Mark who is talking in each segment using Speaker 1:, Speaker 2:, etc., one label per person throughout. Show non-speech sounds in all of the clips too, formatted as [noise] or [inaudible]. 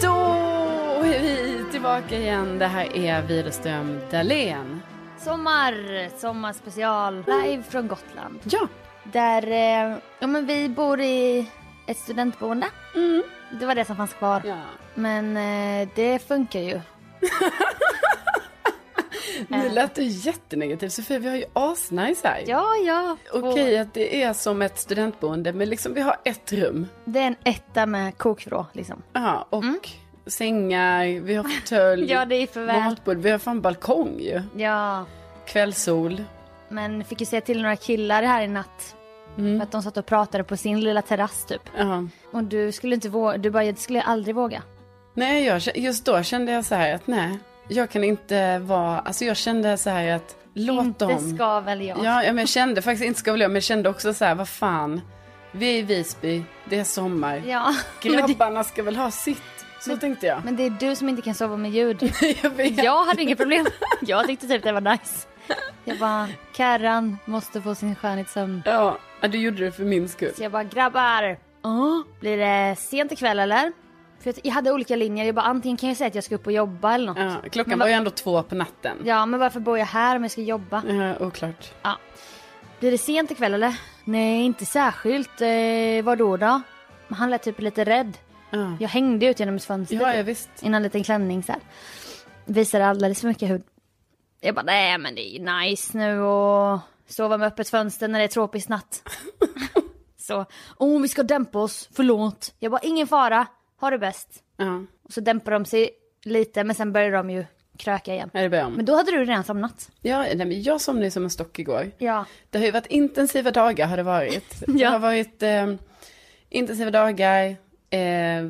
Speaker 1: Då är vi tillbaka igen. Det här är Widerström Dahlén.
Speaker 2: Sommar, sommarspecial, live från Gotland.
Speaker 1: Ja.
Speaker 2: Där, eh, ja men vi bor i ett studentboende. Det var det som fanns kvar.
Speaker 1: Mm. ja.
Speaker 2: Men eh, det funkar ju.
Speaker 1: Nu lät det jättenegativt. Sofia, vi har ju asnice här.
Speaker 2: Ja, ja.
Speaker 1: Okej
Speaker 2: Och
Speaker 1: att det är som ett studentboende, men liksom vi har ett rum.
Speaker 2: Det är en etta med kokvrå liksom.
Speaker 1: Ja, och sängar, vi har [laughs] fåtölj,
Speaker 2: Ja, det är för väl.
Speaker 1: matbord, vi har fan balkong ju.
Speaker 2: Ja.
Speaker 1: Kvällssol.
Speaker 2: Men fick ju se till några killar här i natt.
Speaker 1: Mm.
Speaker 2: För att de satt och pratade på sin lilla terrass typ.
Speaker 1: Ja.
Speaker 2: Och du skulle inte våga, du bara, det skulle jag aldrig våga.
Speaker 1: Nej, jag, kä- just då kände jag så här att nej, jag kan inte vara, alltså jag kände så här att låt
Speaker 2: inte
Speaker 1: dem.
Speaker 2: ska väl jag.
Speaker 1: Ja, ja, men jag kände faktiskt inte ska väl jag, men jag kände också så här, vad fan. Vi är i Visby, det är sommar.
Speaker 2: Ja. Men, det,
Speaker 1: Grabbarna ska väl ha sitt. Så tänkte jag.
Speaker 2: men det är du som inte kan sova med ljud.
Speaker 1: [laughs] jag vet.
Speaker 2: Jag hade inga problem. Jag tyckte typ det var nice. Jag bara, Kärran måste få sin skönhetssömn.
Speaker 1: Ja, ja, du gjorde det för min skull.
Speaker 2: Så jag bara, grabbar! Ja, blir det sent ikväll eller? För jag- jag hade olika linjer. Jag bara, antingen kan jag säga att jag ska upp och jobba eller något.
Speaker 1: Ja, klockan
Speaker 2: Men
Speaker 1: var
Speaker 2: vad-
Speaker 1: ju ändå två på natten.
Speaker 2: Ja, men varför bor jag här om jag ska jobba?
Speaker 1: Ja, oklart.
Speaker 2: Blir det sent ikväll eller? Nej, inte särskilt. Eh, vad då då? Men han lät typ lite rädd.
Speaker 1: Ja,
Speaker 2: Jag hängde ut genom ett fönster.
Speaker 1: ja,
Speaker 2: typ.
Speaker 1: ja visst.
Speaker 2: i någon liten klänning så här. Visade alldeles för mycket hud. Jag bara, nej men det är ju nice nu och sova med öppet fönster när det är tropisk natt. [laughs] så, oh vi ska dämpa oss, förlåt. Jag bara, ingen fara, ha det bäst.
Speaker 1: Ja,
Speaker 2: Och så dämpar de sig lite men sen börjar de ju kröka igen.
Speaker 1: är det börjar om.
Speaker 2: Men då hade du redan somnat.
Speaker 1: Ja, nej, men jag somnade ju som en stock igår.
Speaker 2: Ja.
Speaker 1: Det har ju varit intensiva dagar har det [laughs] varit. Det
Speaker 2: Ja.
Speaker 1: har varit eh, intensiva dagar, eh,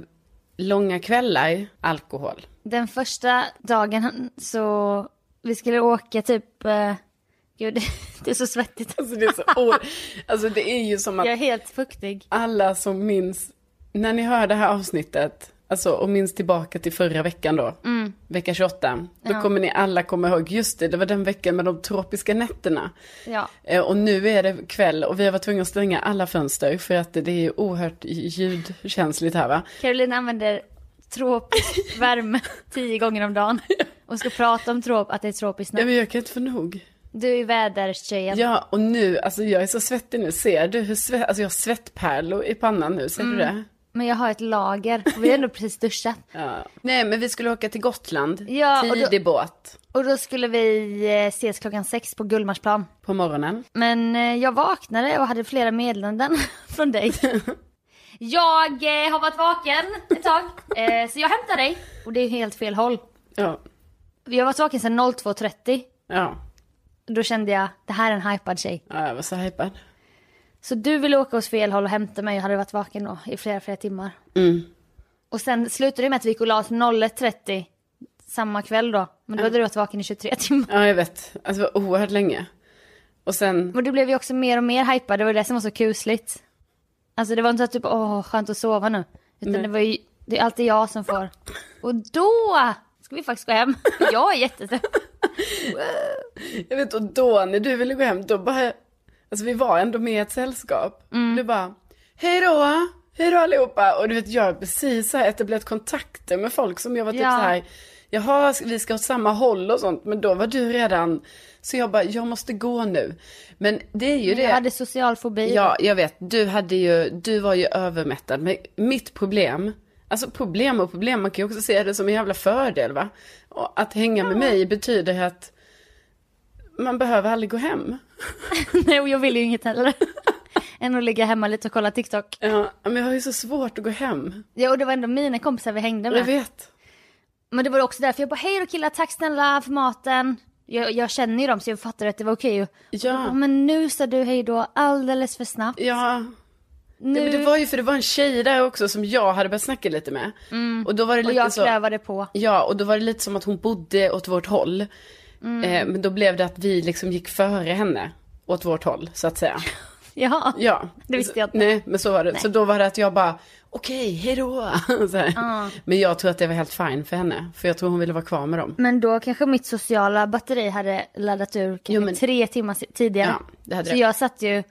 Speaker 1: långa kvällar, alkohol.
Speaker 2: Den första dagen så, vi skulle åka typ, eh, gud [laughs] det är så svettigt.
Speaker 1: Alltså [laughs] det är, så or- alltså, det är ju som att
Speaker 2: Jag är helt fuktig.
Speaker 1: alla som minns, när ni hör det här avsnittet, alltså och minns tillbaka till förra veckan då, vecka 28, då kommer ni alla komma ihåg, just det, det var den veckan med de tropiska nätterna.
Speaker 2: Ja.
Speaker 1: Eh, Och nu är det kväll och vi har varit tvungna att stänga alla fönster för att det är ju oerhört ljudkänsligt här va.
Speaker 2: Caroline använder tropisk värme [laughs] tio gånger om dagen och ska prata om trop, att det är tropiskt
Speaker 1: Ja,
Speaker 2: nu.
Speaker 1: men jag kan inte få nog.
Speaker 2: Du är vädertjejen.
Speaker 1: Ja, och nu, alltså jag är så svettig nu. Ser du hur svett, alltså jag har svettpärlor i pannan nu, ser du det?
Speaker 2: Men jag har ett lager och vi har ändå precis duschat.
Speaker 1: Ja. Nej, men vi skulle åka till Gotland,
Speaker 2: Ja, och då-
Speaker 1: tidig båt
Speaker 2: Och då skulle vi eh, ses klockan sex på Gullmarsplan.
Speaker 1: på morgonen.
Speaker 2: Men eh, jag vaknade och hade flera meddelanden [laughs] från dig. Jag eh, har varit vaken ett tag, eh, så jag hämtar dig. Och det är helt fel håll.
Speaker 1: Ja.
Speaker 2: Jag har varit vaken sedan 02.30.
Speaker 1: Ja.
Speaker 2: Då kände jag, det här är en hypad tjej.
Speaker 1: ja, jag var så hypad.
Speaker 2: Så du ville åka åt fel håll och hämta mig. Jag hade varit vaken då i flera, flera timmar.
Speaker 1: Mm.
Speaker 2: Och sen slutade det med att vi gick och la oss 01.30 samma kväll då. Men då hade du varit vaken i 23 timmar.
Speaker 1: [laughs] Ja, jag vet. Alltså det var oerhört länge. Och sen,
Speaker 2: Men du blev ju också mer och mer hypad. Det var ju det som var så kusligt. Alltså det var inte så att typ, åh skönt att sova nu. Utan det var ju, det är alltid jag som får. Och då ska vi faktiskt
Speaker 1: [laughs]
Speaker 2: gå hem. Jag är jättetrött.
Speaker 1: jag vet, och då när du ville gå hem, då bara, alltså vi var ändå med i ett sällskap.
Speaker 2: Mm.
Speaker 1: Du bara, hej då, hej då allihopa. Och du vet, jag har precis så här etablerat kontakter med folk som jag var typ
Speaker 2: Ja.
Speaker 1: så här, jaha, vi ska åt samma håll och sånt. Men då var du redan, så jag bara, jag måste gå nu. Men det är ju det.
Speaker 2: Jag hade social fobi.
Speaker 1: Ja, jag vet. Du, hade ju, du var ju övermättad. Men mitt problem, alltså problem och problem, man kan ju också se det som en jävla fördel va. Och att hänga med mig betyder att man behöver aldrig gå hem.
Speaker 2: [laughs] Nej, och jag ville ju inget heller. [laughs] Än att ligga hemma lite och kolla TikTok.
Speaker 1: Ja, men jag har ju så svårt att gå hem.
Speaker 2: Ja, och det var ändå mina kompisar vi hängde
Speaker 1: Jag
Speaker 2: med.
Speaker 1: vet.
Speaker 2: Men det var också därför jag bara, hej då killar, tack snälla för maten. Jag, jag känner ju dem så jag fattade att det var okej. Och jag bara,
Speaker 1: Ja,
Speaker 2: men nu sa du hej då alldeles för snabbt.
Speaker 1: ja.
Speaker 2: Nu,
Speaker 1: Men det var ju för det var en tjej där också som jag hade börjat snacka lite med. Mm. Och då var det
Speaker 2: och
Speaker 1: lite
Speaker 2: jag
Speaker 1: så.
Speaker 2: klövade på.
Speaker 1: Ja, och då var det lite som att hon bodde åt vårt håll. Eh, men då blev det att vi liksom gick före henne åt vårt håll, så att säga.
Speaker 2: Ja.
Speaker 1: Ja.
Speaker 2: Det visste jag inte.
Speaker 1: Nej, men så var det. Så då var det att jag bara, okej, hejdå. [laughs] Så här. Men jag tror att det var helt fine för henne. För jag tror hon ville vara kvar med dem.
Speaker 2: Men då kanske mitt sociala batteri hade laddat ur kanske
Speaker 1: Jo, men-
Speaker 2: tre timmar si- tidigare.
Speaker 1: Ja, det hade
Speaker 2: så
Speaker 1: det.
Speaker 2: jag satt ju,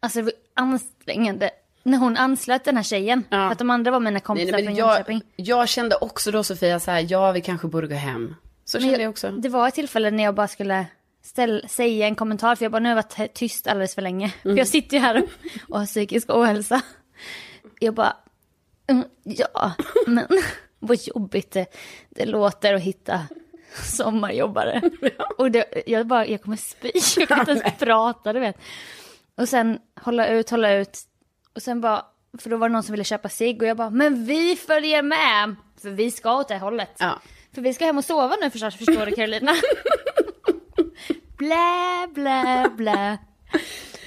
Speaker 2: alltså det var ansträngande. När hon anslöt den här tjejen,
Speaker 1: Ja.
Speaker 2: för att de andra var mina
Speaker 1: Nej,
Speaker 2: kompisar
Speaker 1: nej, men
Speaker 2: från
Speaker 1: jag,
Speaker 2: Jönköping.
Speaker 1: jag kände också då Sofia, så här, ja vi kanske borde gå hem. Så
Speaker 2: Men
Speaker 1: kände jag, också.
Speaker 2: Det var ett tillfälle när jag bara skulle ställ, säga en kommentar för jag bara nu har jag varit tyst alldeles för länge. För
Speaker 1: Mm.
Speaker 2: jag sitter ju här och har psykisk ohälsa. Jag bara, mm, ja, men [laughs] vad jobbigt det, det låter att hitta sommarjobbare. Och det, jag bara, jag kommer spy, jag kan inte ens prata du vet. Och sen hålla ut, hålla ut. Och sen bara, för då var det någon som ville köpa cigg och jag bara, men vi följer med! För vi ska åt det hållet.
Speaker 1: Ja.
Speaker 2: För vi ska hem och sova nu förstås, förstår du
Speaker 1: [laughs]
Speaker 2: Carolina? blä, blä, blä.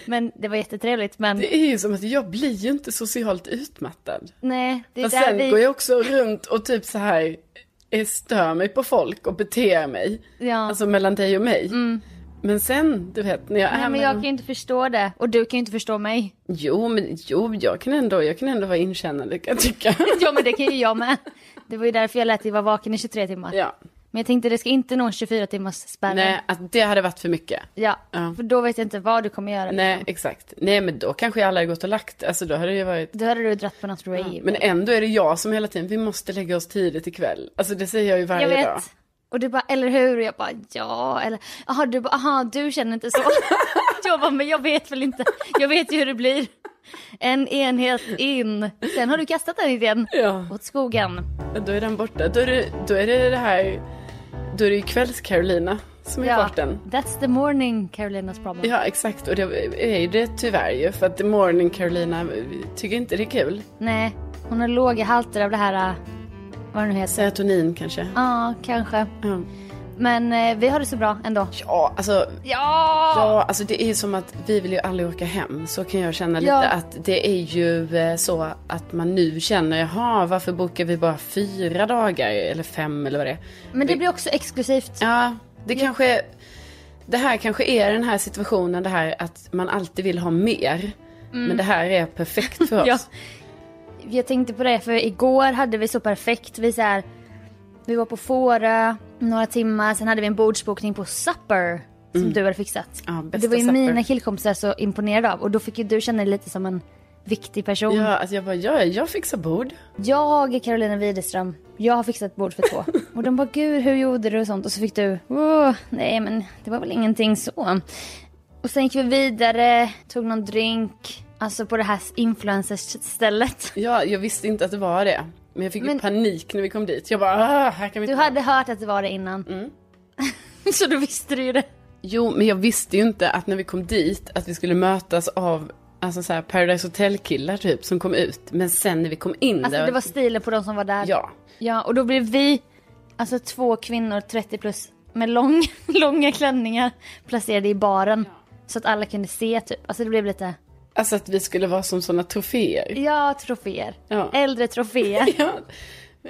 Speaker 2: Men det var jättetrevligt men
Speaker 1: Det är ju som att jag blir ju inte socialt utmattad.
Speaker 2: nej. Det är
Speaker 1: Men
Speaker 2: där
Speaker 1: sen
Speaker 2: vi...
Speaker 1: går jag också runt och typ så här eh, stör mig på folk och beter mig.
Speaker 2: Ja.
Speaker 1: Alltså mellan dig och mig. Men sen, du vet, när jag är
Speaker 2: Mm. Nej men
Speaker 1: med
Speaker 2: jag
Speaker 1: dem-
Speaker 2: kan ju inte förstå det och du kan ju inte förstå mig. [laughs]
Speaker 1: Jo, men jo, jag kan ändå, jag kan ändå vara inkännande kan jag [laughs] tycka.
Speaker 2: Ja men det kan ju jag med. Det var ju därför jag lät dig vara vaken i 23 timmar.
Speaker 1: ja.
Speaker 2: Men jag tänkte det ska inte nå 24 timmars spärren.
Speaker 1: Nej, att det hade varit för mycket.
Speaker 2: Ja,
Speaker 1: Ja.
Speaker 2: för då vet jag inte vad du kommer göra.
Speaker 1: Nej, exakt. Nej, men då kanske jag alla hade gått och lagt, alltså då hade det ju varit...
Speaker 2: Då hade du dragit på något rave.
Speaker 1: Men ändå är det jag som hela tiden, vi måste lägga oss tidigt ikväll. Alltså det säger jag ju varje
Speaker 2: jag vet.
Speaker 1: dag.
Speaker 2: Och du bara, eller hur? Och jag bara, ja, eller, jaha, du bara, aha, du känner inte så. [laughs] jag bara, men jag vet väl inte. Jag vet ju hur det blir. En enhet in. Sen har du kastat den idén
Speaker 1: Ja.
Speaker 2: åt skogen.
Speaker 1: Då är den borta. Då är det då är det, det här, då är det ju kvälls-Carolina som är ja. den.
Speaker 2: That's the morning Carolinas problem.
Speaker 1: Ja, exakt. Och det är ju det tyvärr ju, för att The Morning Carolina tycker inte det är kul.
Speaker 2: Nej, hon har låga halter av det här, äh, vad det nu heter.
Speaker 1: Serotonin kanske.
Speaker 2: Ja, kanske.
Speaker 1: Ja.
Speaker 2: Men eh, vi har det så bra ändå.
Speaker 1: Ja, alltså
Speaker 2: Ja!
Speaker 1: Ja, alltså det är ju som att vi vill ju aldrig åka hem. Så kan jag känna lite
Speaker 2: Ja.
Speaker 1: att det är ju eh, så att man nu känner, jaha, varför bokar vi bara fyra dagar eller fem eller vad det är?
Speaker 2: Men det blir också exklusivt.
Speaker 1: Ja, det kanske, det här kanske är den här situationen, det här att man alltid vill ha mer. Men det här är perfekt
Speaker 2: [laughs]
Speaker 1: för oss.
Speaker 2: Mm. Ja. Jag tänkte på det för igår hade vi så perfekt. Vi, så här, vi var på Fårö några timmar, sen hade vi en bordsbokning på Supper som du hade fixat.
Speaker 1: Mm. Ja, bästa
Speaker 2: det var ju
Speaker 1: supper.
Speaker 2: mina killkompisar så imponerade av och då fick ju du känna dig lite som en viktig person.
Speaker 1: Ja, alltså jag bara, ja, jag fixar bord.
Speaker 2: Jag är Carolina Widerström, jag har fixat bord för
Speaker 1: [laughs]
Speaker 2: två. och de bara gud hur gjorde du och sånt och så fick du, "Åh, nej men det var väl ingenting så. Och sen gick vi vidare, tog någon drink, alltså på det här influencers-stället.
Speaker 1: Ja, jag visste inte att det var det. Men jag fick
Speaker 2: Men-
Speaker 1: ju panik när vi kom dit. Jag bara, ah, här kan vi
Speaker 2: Du
Speaker 1: inte
Speaker 2: hade hört att det var det innan. [laughs] så då visste du ju det.
Speaker 1: Jo, men jag visste ju inte att när vi kom dit att vi skulle mötas av alltså så här Paradise Hotel-killar typ som kom ut. Men sen när vi kom in
Speaker 2: Alltså
Speaker 1: där...
Speaker 2: det var stilen på de som var där.
Speaker 1: Ja.
Speaker 2: Ja, och då blev vi Alltså två kvinnor 30 plus med lång, [laughs] långa klänningar placerade i baren. Så att alla kunde se typ. Alltså det blev lite,
Speaker 1: Alltså att vi skulle vara som sådana troféer. [laughs]
Speaker 2: ja troféer.
Speaker 1: Ja.
Speaker 2: Äldre troféer.
Speaker 1: [laughs] Ja.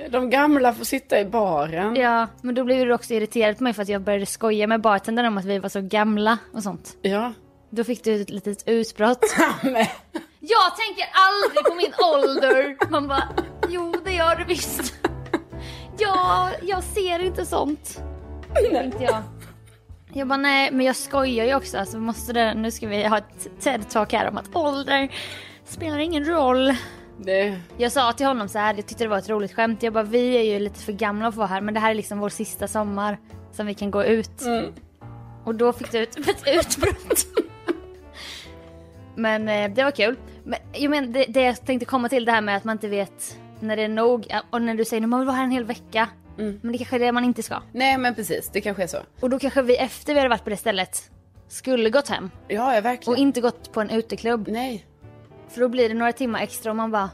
Speaker 1: De gamla får sitta i baren.
Speaker 2: Ja, men då blev du också irriterad på mig för att jag började skoja med bartendern om att vi var så gamla och sånt.
Speaker 1: Ja.
Speaker 2: Då fick du ett litet utbrott.
Speaker 1: Men,
Speaker 2: Jag tänker aldrig på min ålder! Man bara, jo det gör du visst. Ja, jag ser inte sånt. Tänkte jag. Jag bara, nej men jag skojar ju också. Alltså, måste det, nu ska vi ha ett TED-talk här om att ålder spelar ingen roll.
Speaker 1: det,
Speaker 2: Jag sa till honom så här, jag tyckte det var ett roligt skämt. Jag bara, vi är ju lite för gamla att vara här men det här är liksom vår sista sommar som vi kan gå ut. Och då fick du ut [laughs] ett utbrott. men eh, det var kul. Men, jag men, det, det jag tänkte komma till det här med att man inte vet när det är nog. Ja, Och när du säger att man vill vara här en hel vecka. Men det kanske är det man inte ska.
Speaker 1: nej men precis, det kanske är så.
Speaker 2: Och då kanske vi efter vi hade varit på det stället skulle gått hem
Speaker 1: Ja, ja
Speaker 2: och
Speaker 1: verkligen.
Speaker 2: inte gått på en uteklubb.
Speaker 1: Nej.
Speaker 2: För då blir det några timmar extra och man bara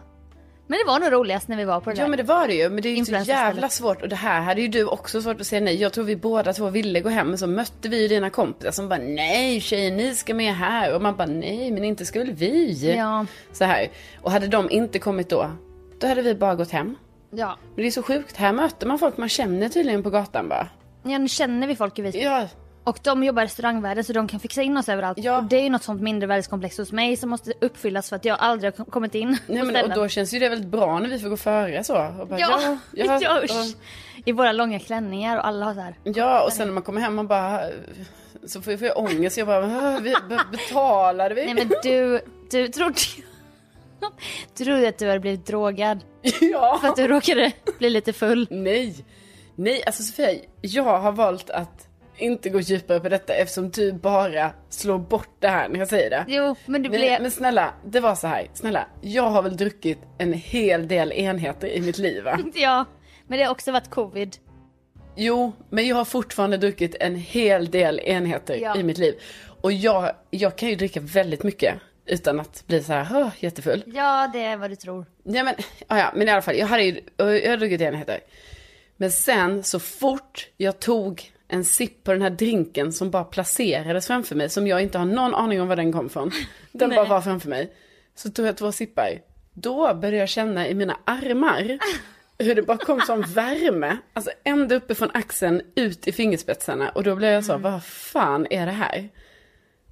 Speaker 2: Men det var nog roligast när vi var på det
Speaker 1: Ja
Speaker 2: där.
Speaker 1: men det var det ju. Men det är ju så
Speaker 2: Influencerstället.
Speaker 1: jävla svårt. Och det här hade ju du också svårt att säga nej. Jag tror vi båda två ville gå hem. Men så mötte vi ju dina kompisar som bara nej tjejer ni ska med här. Och man bara nej men inte skulle vi.
Speaker 2: Ja.
Speaker 1: Så här. Och hade de inte kommit då. Då hade vi bara gått hem.
Speaker 2: Ja.
Speaker 1: Men det är så sjukt. Här möter man folk man känner tydligen på gatan bara.
Speaker 2: Ja, nu känner vi folk i Visby.
Speaker 1: Ja,
Speaker 2: Och de jobbar i restaurangvärlden så de kan fixa in oss överallt.
Speaker 1: Ja.
Speaker 2: Och det är ju något sånt mindrevärdeskomplex hos mig som måste uppfyllas för att jag aldrig har kom- kommit in
Speaker 1: nej,
Speaker 2: på
Speaker 1: men, och
Speaker 2: ställen.
Speaker 1: då känns ju det väldigt bra när vi får gå före så. Och bara,
Speaker 2: Ja, [laughs]
Speaker 1: ja, ja,
Speaker 2: usch.
Speaker 1: och,
Speaker 2: I våra långa klänningar och alla har så här.
Speaker 1: ja, och sen när man kommer hem man bara så får får jag ångest. Jag bara, "Hö, vi, be, betalade vi?
Speaker 2: Nej men du, du trodde Du [laughs] trodde att du hade blivit drogad.
Speaker 1: [laughs] ja.
Speaker 2: För att du råkade bli
Speaker 1: [laughs]
Speaker 2: lite full.
Speaker 1: Nej, nej, alltså Sofia, jag har valt att inte gå djupare på detta eftersom du bara slår bort det här när jag säger det.
Speaker 2: Jo, men du
Speaker 1: Nej,
Speaker 2: blev...
Speaker 1: men snälla, det var så här, snälla, jag har väl druckit en hel del enheter i mitt liv va?
Speaker 2: [laughs] Ja, men det har också varit covid.
Speaker 1: Jo, men jag har fortfarande druckit en hel del enheter
Speaker 2: Ja.
Speaker 1: i mitt liv. Och jag, jag kan ju dricka väldigt mycket utan att bli så här, "Hö, jättefull.
Speaker 2: Ja, det är vad du tror.
Speaker 1: Nej men, ja, ja, men i alla fall, jag hade ju, jag hade druckit enheter. Men sen så fort jag tog en sipp på den här drinken som bara placerades framför mig, som jag inte har någon aning om var den kom ifrån. Den bara var framför mig. Så tog jag två sippar. Då började jag känna i mina armar hur det bara kom som värme. Alltså ända uppifrån axeln ut i fingerspetsarna. Och då blev jag så, vad fan är det här?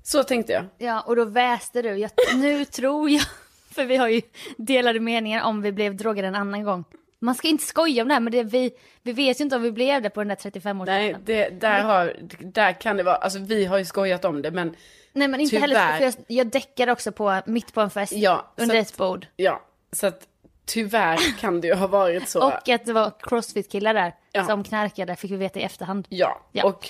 Speaker 1: Så tänkte jag.
Speaker 2: Ja, och då väste du. Jag, nu tror jag, [laughs] för vi har ju delade meningar om vi blev drogade en annan gång. Man ska inte skoja om det här, men det är vi, vi vet ju inte om vi blev det på den där 35
Speaker 1: Nej,
Speaker 2: årsdagen
Speaker 1: det, där, har, där kan det vara, alltså vi har ju skojat om det men
Speaker 2: Nej, men inte heller,
Speaker 1: tyvärr.
Speaker 2: för jag, jag däckade också på, mitt på en fest,
Speaker 1: Ja, så
Speaker 2: under
Speaker 1: att-
Speaker 2: ett bord.
Speaker 1: Ja, så att
Speaker 2: [laughs]
Speaker 1: tyvärr kan det ju ha varit så.
Speaker 2: Och att det var crossfit-killar där
Speaker 1: Ja.
Speaker 2: som knarkade, fick vi veta i efterhand.
Speaker 1: ja,
Speaker 2: Ja.
Speaker 1: och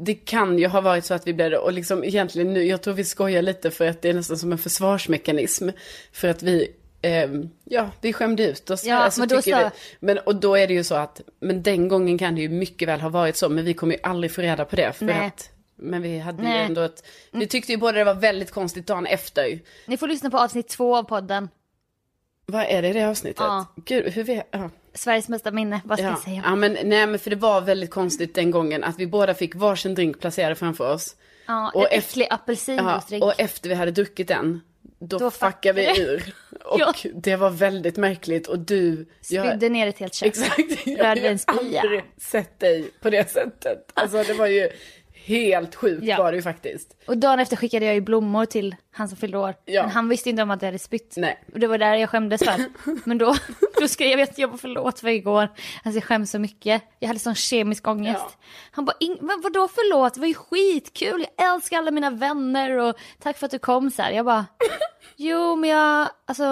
Speaker 1: det kan ju ha varit så att vi blev det. Och liksom egentligen nu, jag tror vi skojar lite för att det är nästan som en försvarsmekanism. För att vi, ehm, ja, vi skämde ut oss.
Speaker 2: Ja,
Speaker 1: Alltså,
Speaker 2: men då
Speaker 1: tycker
Speaker 2: sa-
Speaker 1: vi. men, och då är det ju så att, men den gången kan det ju mycket väl ha varit så, men vi kommer ju aldrig få reda på det. För
Speaker 2: Nej.
Speaker 1: att, men vi hade ju
Speaker 2: Nej. Mm.
Speaker 1: ändå ett, vi tyckte ju båda det var väldigt konstigt dagen efter.
Speaker 2: Ni får lyssna på avsnitt två av podden,
Speaker 1: Vad är det i det avsnittet?
Speaker 2: Ja.
Speaker 1: Gud, hur vet, ja.
Speaker 2: Sveriges bästa minne, vad ska jag säga?
Speaker 1: ja men nej men för det var väldigt konstigt den gången att vi båda fick varsin drink placerad framför oss.
Speaker 2: Ja,
Speaker 1: och
Speaker 2: en
Speaker 1: efter-
Speaker 2: äcklig
Speaker 1: Ja,
Speaker 2: apelsinjuicedrink.
Speaker 1: och efter vi hade druckit den, då,
Speaker 2: Då
Speaker 1: fuckade
Speaker 2: fuckade
Speaker 1: vi
Speaker 2: det. [laughs]
Speaker 1: ur. Och
Speaker 2: Ja.
Speaker 1: det var väldigt märkligt och du...
Speaker 2: Spydde ner ett helt kök.
Speaker 1: Exakt, [laughs] jag har ju
Speaker 2: Rödvinsspya.
Speaker 1: aldrig sett dig på det sättet. Alltså det var ju helt sjukt
Speaker 2: Ja.
Speaker 1: var det ju
Speaker 2: [laughs]
Speaker 1: faktiskt.
Speaker 2: Och dagen efter skickade jag ju blommor till han som fyllde år.
Speaker 1: Ja.
Speaker 2: Men han visste inte om att jag hade spytt.
Speaker 1: Nej.
Speaker 2: Och det var där jag skämdes
Speaker 1: [laughs]
Speaker 2: för. Men då, då skrev jag att jag var förlåt för igår. Alltså jag skäms så mycket. Jag hade sån kemisk ångest.
Speaker 1: Ja.
Speaker 2: Han bara, "Ing- men vadå förlåt? Det var ju skitkul. Jag älskar alla mina vänner och tack för att du kom så här. Jag
Speaker 1: [laughs]
Speaker 2: bara, jo men jag, alltså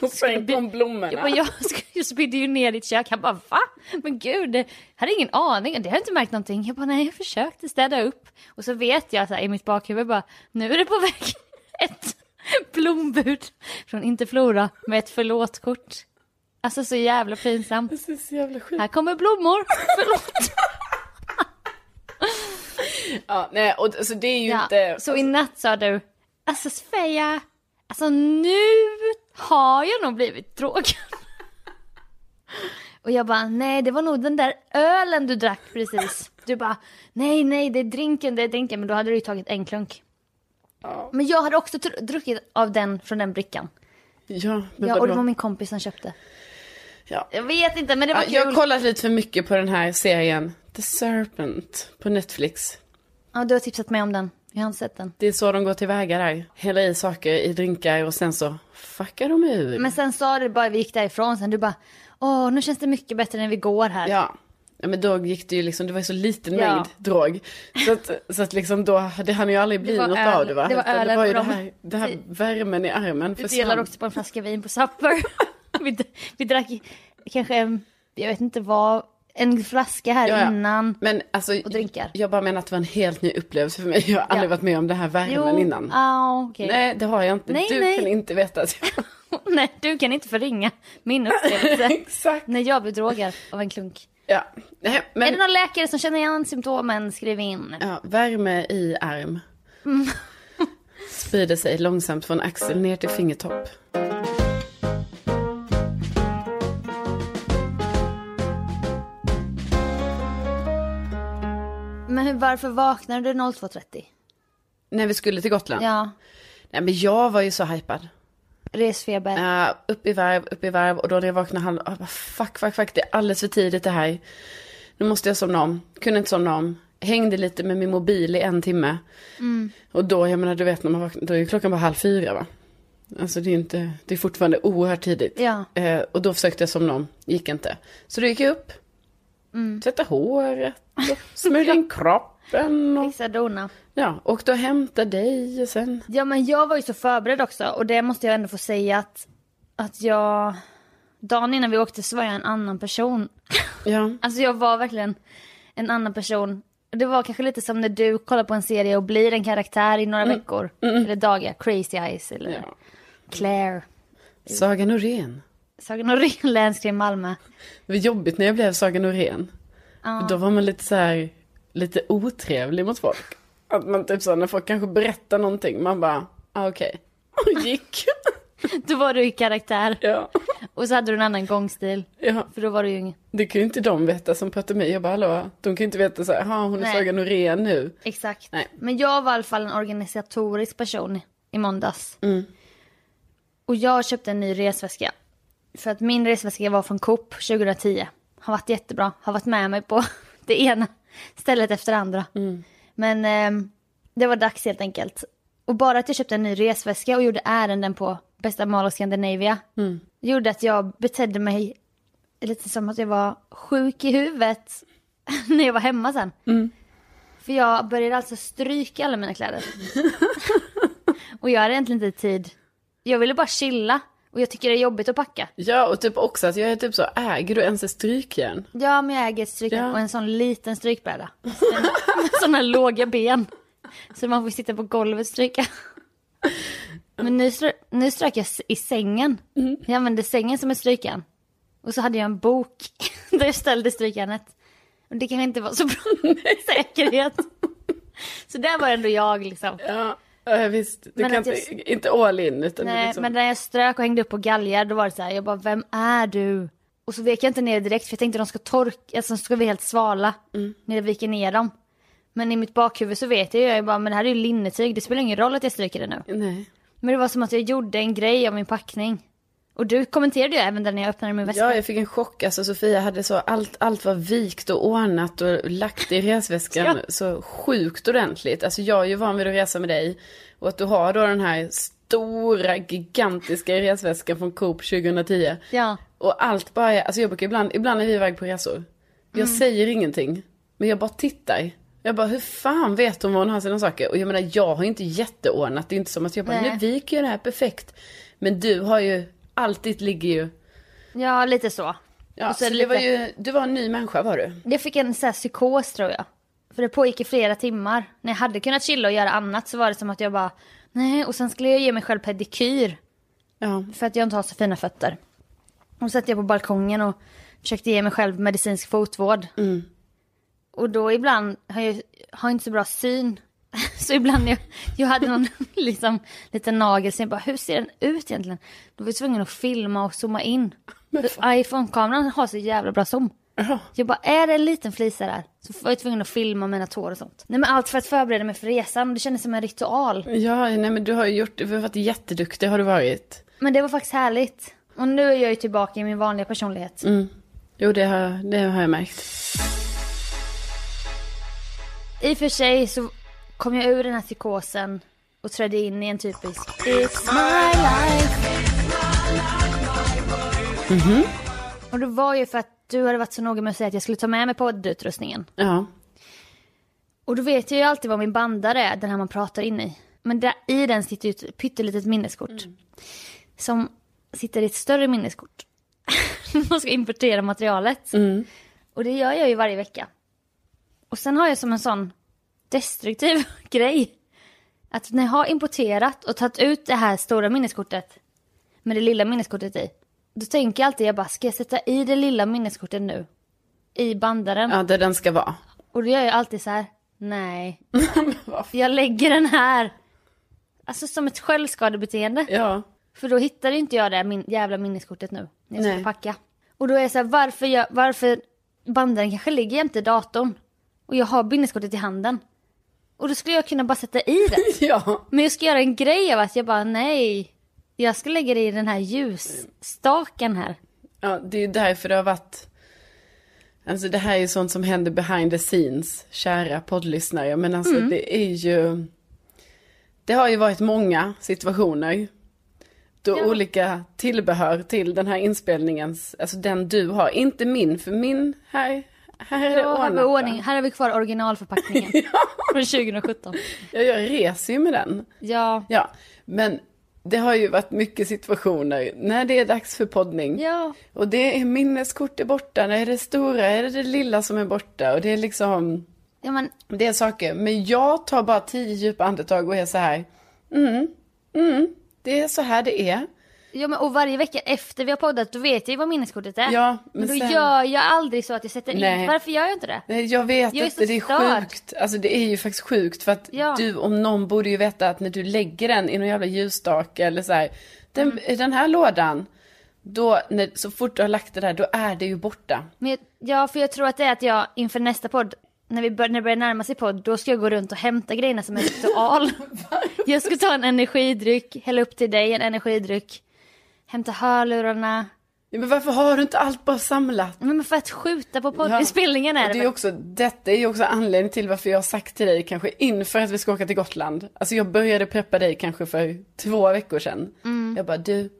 Speaker 1: Och sen kom blommorna.
Speaker 2: jag, bara, jag [laughs] sk- jag spydde ju ner ditt kök. Han bara va? Men gud, jag hade ingen aning. Det har jag inte märkt någonting. Jag bara nej, jag försökte städa upp. Och så vet jag så här, i mitt bakhuvud bara nu är det på väg [laughs] ett blombud från Inte Flora med ett förlåtkort. Alltså så jävla pinsamt.
Speaker 1: Det är så jävla sjukt.
Speaker 2: Här kommer blommor. Förlåt.
Speaker 1: Ja, nej, och, så det är ju
Speaker 2: Ja.
Speaker 1: inte...
Speaker 2: Så i natt sa du alltså Sofia, alltså nu har jag nog blivit drogad. [laughs] Och jag bara, nej det var nog den där ölen du drack precis. Du bara, nej nej det är drinken, det är drinken. Men då hade du ju tagit en klunk. Men jag hade också tr- druckit av den från den brickan.
Speaker 1: Ja, men
Speaker 2: Ja, och det
Speaker 1: vadå?
Speaker 2: var min kompis som köpte.
Speaker 1: Ja.
Speaker 2: Jag vet inte men det var
Speaker 1: Ja, jag har
Speaker 2: kul.
Speaker 1: kollat lite för mycket på den här serien The Serpent på Netflix.
Speaker 2: Ja, du har tipsat mig om den. Jag har inte sett den.
Speaker 1: Det är så de går tillväga där. Häller i saker i drinkar och sen så fuckar de ur.
Speaker 2: Men sen sa du bara, vi gick därifrån sen, du bara, åh nu känns det mycket bättre när vi går här.
Speaker 1: Ja. ja, men då gick det ju liksom, det var ju så liten
Speaker 2: Ja.
Speaker 1: mängd drog. Så att, så att liksom då, det hann ju aldrig bli
Speaker 2: Det var
Speaker 1: något
Speaker 2: öl-
Speaker 1: av det va?
Speaker 2: det var
Speaker 1: Utan
Speaker 2: ölen
Speaker 1: det var ju
Speaker 2: och
Speaker 1: det
Speaker 2: de-
Speaker 1: här, det här värmen i armen
Speaker 2: Vi delade också på en flaska vin på Supper. [laughs] vi, vi drack kanske, en- jag vet inte vad, en flaska här
Speaker 1: Ja, ja.
Speaker 2: innan.
Speaker 1: Men alltså,
Speaker 2: och drinkar.
Speaker 1: jag bara menar att det var en helt ny upplevelse för mig. Jag har aldrig
Speaker 2: Ja.
Speaker 1: varit med om den här värmen innan.
Speaker 2: ah, okej. Nej. [laughs]
Speaker 1: Nej, det har jag inte.
Speaker 2: Nej,
Speaker 1: du
Speaker 2: nej.
Speaker 1: kan inte veta. att jag-
Speaker 2: du kan inte förringa min upplevelse
Speaker 1: [laughs] Exakt.
Speaker 2: när jag blir drogad av en klunk.
Speaker 1: Ja. Nej, men...
Speaker 2: Är det någon läkare som känner igen symptomen, skriv in.
Speaker 1: Ja, värme i arm. Sprider sig långsamt från axel ner till fingertopp.
Speaker 2: Men hur, varför vaknade du 02.30?
Speaker 1: När vi skulle till Gotland.
Speaker 2: Ja,
Speaker 1: Nej men jag var ju så hypad.
Speaker 2: resfeber.
Speaker 1: Ja, Eh, upp i varv, upp i varv och då när jag vaknade halv... jag bara, Fuck, fuck, fuck, det är alldeles för tidigt det här. Nu måste jag somna om. Kunde inte somna om. Hängde lite med min mobil i en timme. Och då, jag menar du vet när man vaknar, då är ju klockan bara halv fyra va. Alltså det är inte, det är fortfarande oerhört tidigt.
Speaker 2: Ja.
Speaker 1: Eh, och då försökte jag somna om, gick inte. Så då gick jag upp. Tvättade håret, och smörjde in kroppen och...
Speaker 2: Fixa dona.
Speaker 1: Ja, och då hämtade dig och sen...
Speaker 2: Ja men jag var ju så förberedd också och det måste jag ändå få säga att, att jag, dagen innan vi åkte så var jag en annan person. [laughs]
Speaker 1: Ja.
Speaker 2: Alltså jag var verkligen en annan person. Och Det var kanske lite som när du kollar på en serie och blir en karaktär i några veckor. Eller dagar, Crazy Eyes eller
Speaker 1: Mm. ja.
Speaker 2: Claire.
Speaker 1: Saga Norén.
Speaker 2: Sagan om Ringen, länskrim Malmö. [laughs]
Speaker 1: Det var jobbigt när jag blev Saga Norén. För Då var man lite så här, lite otrevlig mot folk. Att man typ så när folk kanske berättar någonting, man bara, ah, okej. [laughs] Och
Speaker 2: [laughs]
Speaker 1: gick.
Speaker 2: Då var du i karaktär
Speaker 1: ja.
Speaker 2: och så hade du en annan gångstil.
Speaker 1: ja.
Speaker 2: För då var du ju ingen...
Speaker 1: Det kan ju inte de veta som pratar med mig. Jag bara, hallå. De kan ju inte veta så här, "Ah, hon är
Speaker 2: Nej.
Speaker 1: Saga Norén nu.
Speaker 2: Exakt.
Speaker 1: Nej.
Speaker 2: Men jag var i alla fall en organisatorisk person i måndags. Och jag köpte en ny resväska. För att min resväska var från Coop 2010. Har varit jättebra. Har varit med mig på [laughs] det ena stället efter det andra. Men ehm, det var dags helt enkelt. Och bara att jag köpte en ny resväska och gjorde ärenden på Bästa Mall och Scandinavia. Gjorde att jag betedde mig lite som att jag var sjuk i huvudet [laughs] när jag var hemma sen. För jag började alltså stryka alla mina [laughs] kläder. och jag hade egentligen inte tid. Jag ville bara chilla. Och jag tycker det är jobbigt att packa.
Speaker 1: Ja, och typ också att jag är typ så, äger du ens ett strykjärn?
Speaker 2: Ja, men jag äger ett strykjärn
Speaker 1: Ja.
Speaker 2: och en sån liten strykbräda. [laughs] Med såna låga ben. Så man får sitta på golvet och stryka. Men nu, strö- nu strök jag s- i sängen. Jag använde sängen som ett strykjärn. Och så hade jag en bok [laughs] där jag ställde strykjärnet. Och det kanske inte var så bra säkerhet. Så där var ändå jag liksom.
Speaker 1: Ja, ja, visst. Du
Speaker 2: Men
Speaker 1: kan
Speaker 2: att
Speaker 1: inte, inte all in, utan det är
Speaker 2: Nej,
Speaker 1: liksom...
Speaker 2: men när jag strök och hängde upp på galgar då var det så här, jag bara vem är du? Och så vek jag inte ner direkt för jag tänkte de ska torka, alltså de ska bli helt svala
Speaker 1: Mm.
Speaker 2: när jag viker ner dem. Men i mitt bakhuvud så vet jag ju, jag bara men det här är ju linnetyg, det spelar ingen roll att jag stryker det nu.
Speaker 1: Nej.
Speaker 2: Men det var som att jag gjorde en grej av min packning. Och du kommenterade ju även den när jag öppnade min väska.
Speaker 1: Ja, jag fick en chock. Alltså Sofia hade så, allt, allt var vikt och ordnat och lagt i resväskan
Speaker 2: Ja.
Speaker 1: så sjukt ordentligt. Alltså jag är ju van vid att resa med dig. Och att du har då den här stora, gigantiska resväskan från Coop 2010.
Speaker 2: Ja.
Speaker 1: Och allt bara, är- alltså jag brukar ibland, ibland är vi iväg på resor. Jag
Speaker 2: Mm.
Speaker 1: säger ingenting, men jag bara tittar. Jag bara, hur fan vet hon vad hon har sina saker? Och jag menar, jag har inte jätteordnat. Det är inte som att jag bara,
Speaker 2: Nej.
Speaker 1: nu viker jag det här perfekt. Men du har ju, allt ditt ligger ju
Speaker 2: ja, lite så.
Speaker 1: Ja,
Speaker 2: Och
Speaker 1: så
Speaker 2: så är det
Speaker 1: det var
Speaker 2: lite-
Speaker 1: ju, du var en ny människa var du.
Speaker 2: Jag fick en sån här psykos tror jag. För det pågick i flera timmar. När jag hade kunnat chilla och göra annat så var det som att jag bara, nej, och sen skulle jag ge mig själv pedikyr.
Speaker 1: Ja.
Speaker 2: för att jag inte har så fina fötter. Och satt jag på balkongen och försökte ge mig själv medicinsk fotvård. Och då ibland har jag har jag inte så bra syn. [laughs] Så ibland jag, jag hade någon [laughs] liksom, liten nagel, så jag bara hur ser den ut egentligen? Då var jag tvungen att filma och zooma in. Iphone-kameran har så jävla bra zoom. Jag bara, är det en liten flisa där? Så var jag tvungen att filma mina tår och sånt. Nej men allt för att förbereda mig för resan, det kändes som en ritual.
Speaker 1: Ja, nej men du har ju gjort, du har varit jätteduktig har du varit.
Speaker 2: Men det var faktiskt härligt. Och nu är jag ju tillbaka i min vanliga personlighet.
Speaker 1: Jo, det har, det har jag märkt.
Speaker 2: I och för sig så kom jag ur den här psykosen och trädde in i en typisk It's my life. Och det var ju för att du hade varit så noga med att säga att jag skulle ta med mig poddutrustningen.
Speaker 1: Ja.
Speaker 2: Och då vet jag ju alltid vad min bandare är, den här man pratar in i. Men där, i den sitter ju ett pyttelitet minneskort. Som sitter i ett större minneskort. [laughs] man ska importera materialet. Och det gör jag ju varje vecka. Och sen har jag som en sån destruktiv [laughs] grej. Att när jag har importerat och tagit ut det här stora minneskortet med det lilla minneskortet i. Då tänker jag alltid, jag bara, ska jag sätta i det lilla minneskortet nu? I bandaren.
Speaker 1: ja, där den ska vara.
Speaker 2: Och då gör jag alltid så här, nej.
Speaker 1: [laughs]
Speaker 2: jag lägger den här. Alltså som ett självskadebeteende.
Speaker 1: Ja.
Speaker 2: För då hittade inte jag det min jävla minneskortet nu. När jag
Speaker 1: Nej.
Speaker 2: skulle packa. Och då är jag så här, varför, jag, varför banden kanske ligger jämte datorn. Och jag har minneskortet i handen. Och då skulle jag kunna bara sätta i
Speaker 1: [laughs] [laughs]
Speaker 2: det.
Speaker 1: Ja.
Speaker 2: Men jag ska göra en grej av att jag bara, nej. Jag ska lägga det i den här ljusstaken här.
Speaker 1: Ja, det är ju därför det har varit... Alltså det här är ju sånt som händer behind the scenes, kära poddlyssnare. Men alltså det är ju... Det har ju varit många situationer då olika tillbehör till den här inspelningens, alltså den du har, inte min, för min här, här är det
Speaker 2: Då har vi
Speaker 1: ordnat, va?
Speaker 2: ordning. Här har vi kvar
Speaker 1: [laughs]
Speaker 2: originalförpackningen. Från 2017.
Speaker 1: Ja, jag reser ju med den.
Speaker 2: Ja.
Speaker 1: Ja, men det har ju varit mycket situationer när det är dags för poddning.
Speaker 2: Ja.
Speaker 1: Och det är minneskort är borta, när är det stora, är det det lilla som är borta? Och det är liksom,
Speaker 2: Ja men
Speaker 1: det är saker. Men jag tar bara tio djupa andetag och är så här, mm, mm, det är så här det är.
Speaker 2: Ja men och varje vecka efter vi har poddat då vet jag ju vad minneskortet är.
Speaker 1: Ja, men
Speaker 2: men då
Speaker 1: sen-
Speaker 2: gör jag aldrig så att jag sätter in.
Speaker 1: Nej.
Speaker 2: Varför gör jag inte det?
Speaker 1: Nej, Eh, Jag vet
Speaker 2: Jag är
Speaker 1: inte,
Speaker 2: så
Speaker 1: det är
Speaker 2: störd.
Speaker 1: sjukt. Alltså det är ju faktiskt sjukt för att
Speaker 2: Ja.
Speaker 1: du om någon borde ju veta att när du lägger den i någon jävla ljusstake eller så här, den,
Speaker 2: Mm.
Speaker 1: i den här lådan, då, när, så fort du har lagt det där, då är det ju borta.
Speaker 2: Men jag, ja för jag tror att det är att jag inför nästa podd, när, vi bör, när det börjar närma sig podd, då ska jag gå runt och hämta grejerna som
Speaker 1: [laughs]
Speaker 2: en ritual. jag ska ta en energidryck, hälla upp till dig en energidryck, hämta hörlurarna.
Speaker 1: Ja, men varför har du inte allt bara samlat?
Speaker 2: Men men för att skjuta på
Speaker 1: Ja.
Speaker 2: poddinspelningen är
Speaker 1: Och
Speaker 2: det,
Speaker 1: det är
Speaker 2: väl?
Speaker 1: ju också, Detta är ju också anledningen till varför jag har sagt till dig kanske inför att vi ska åka till Gotland. Alltså jag började preppa dig kanske för två veckor sedan.
Speaker 2: Mm.
Speaker 1: Jag bara du,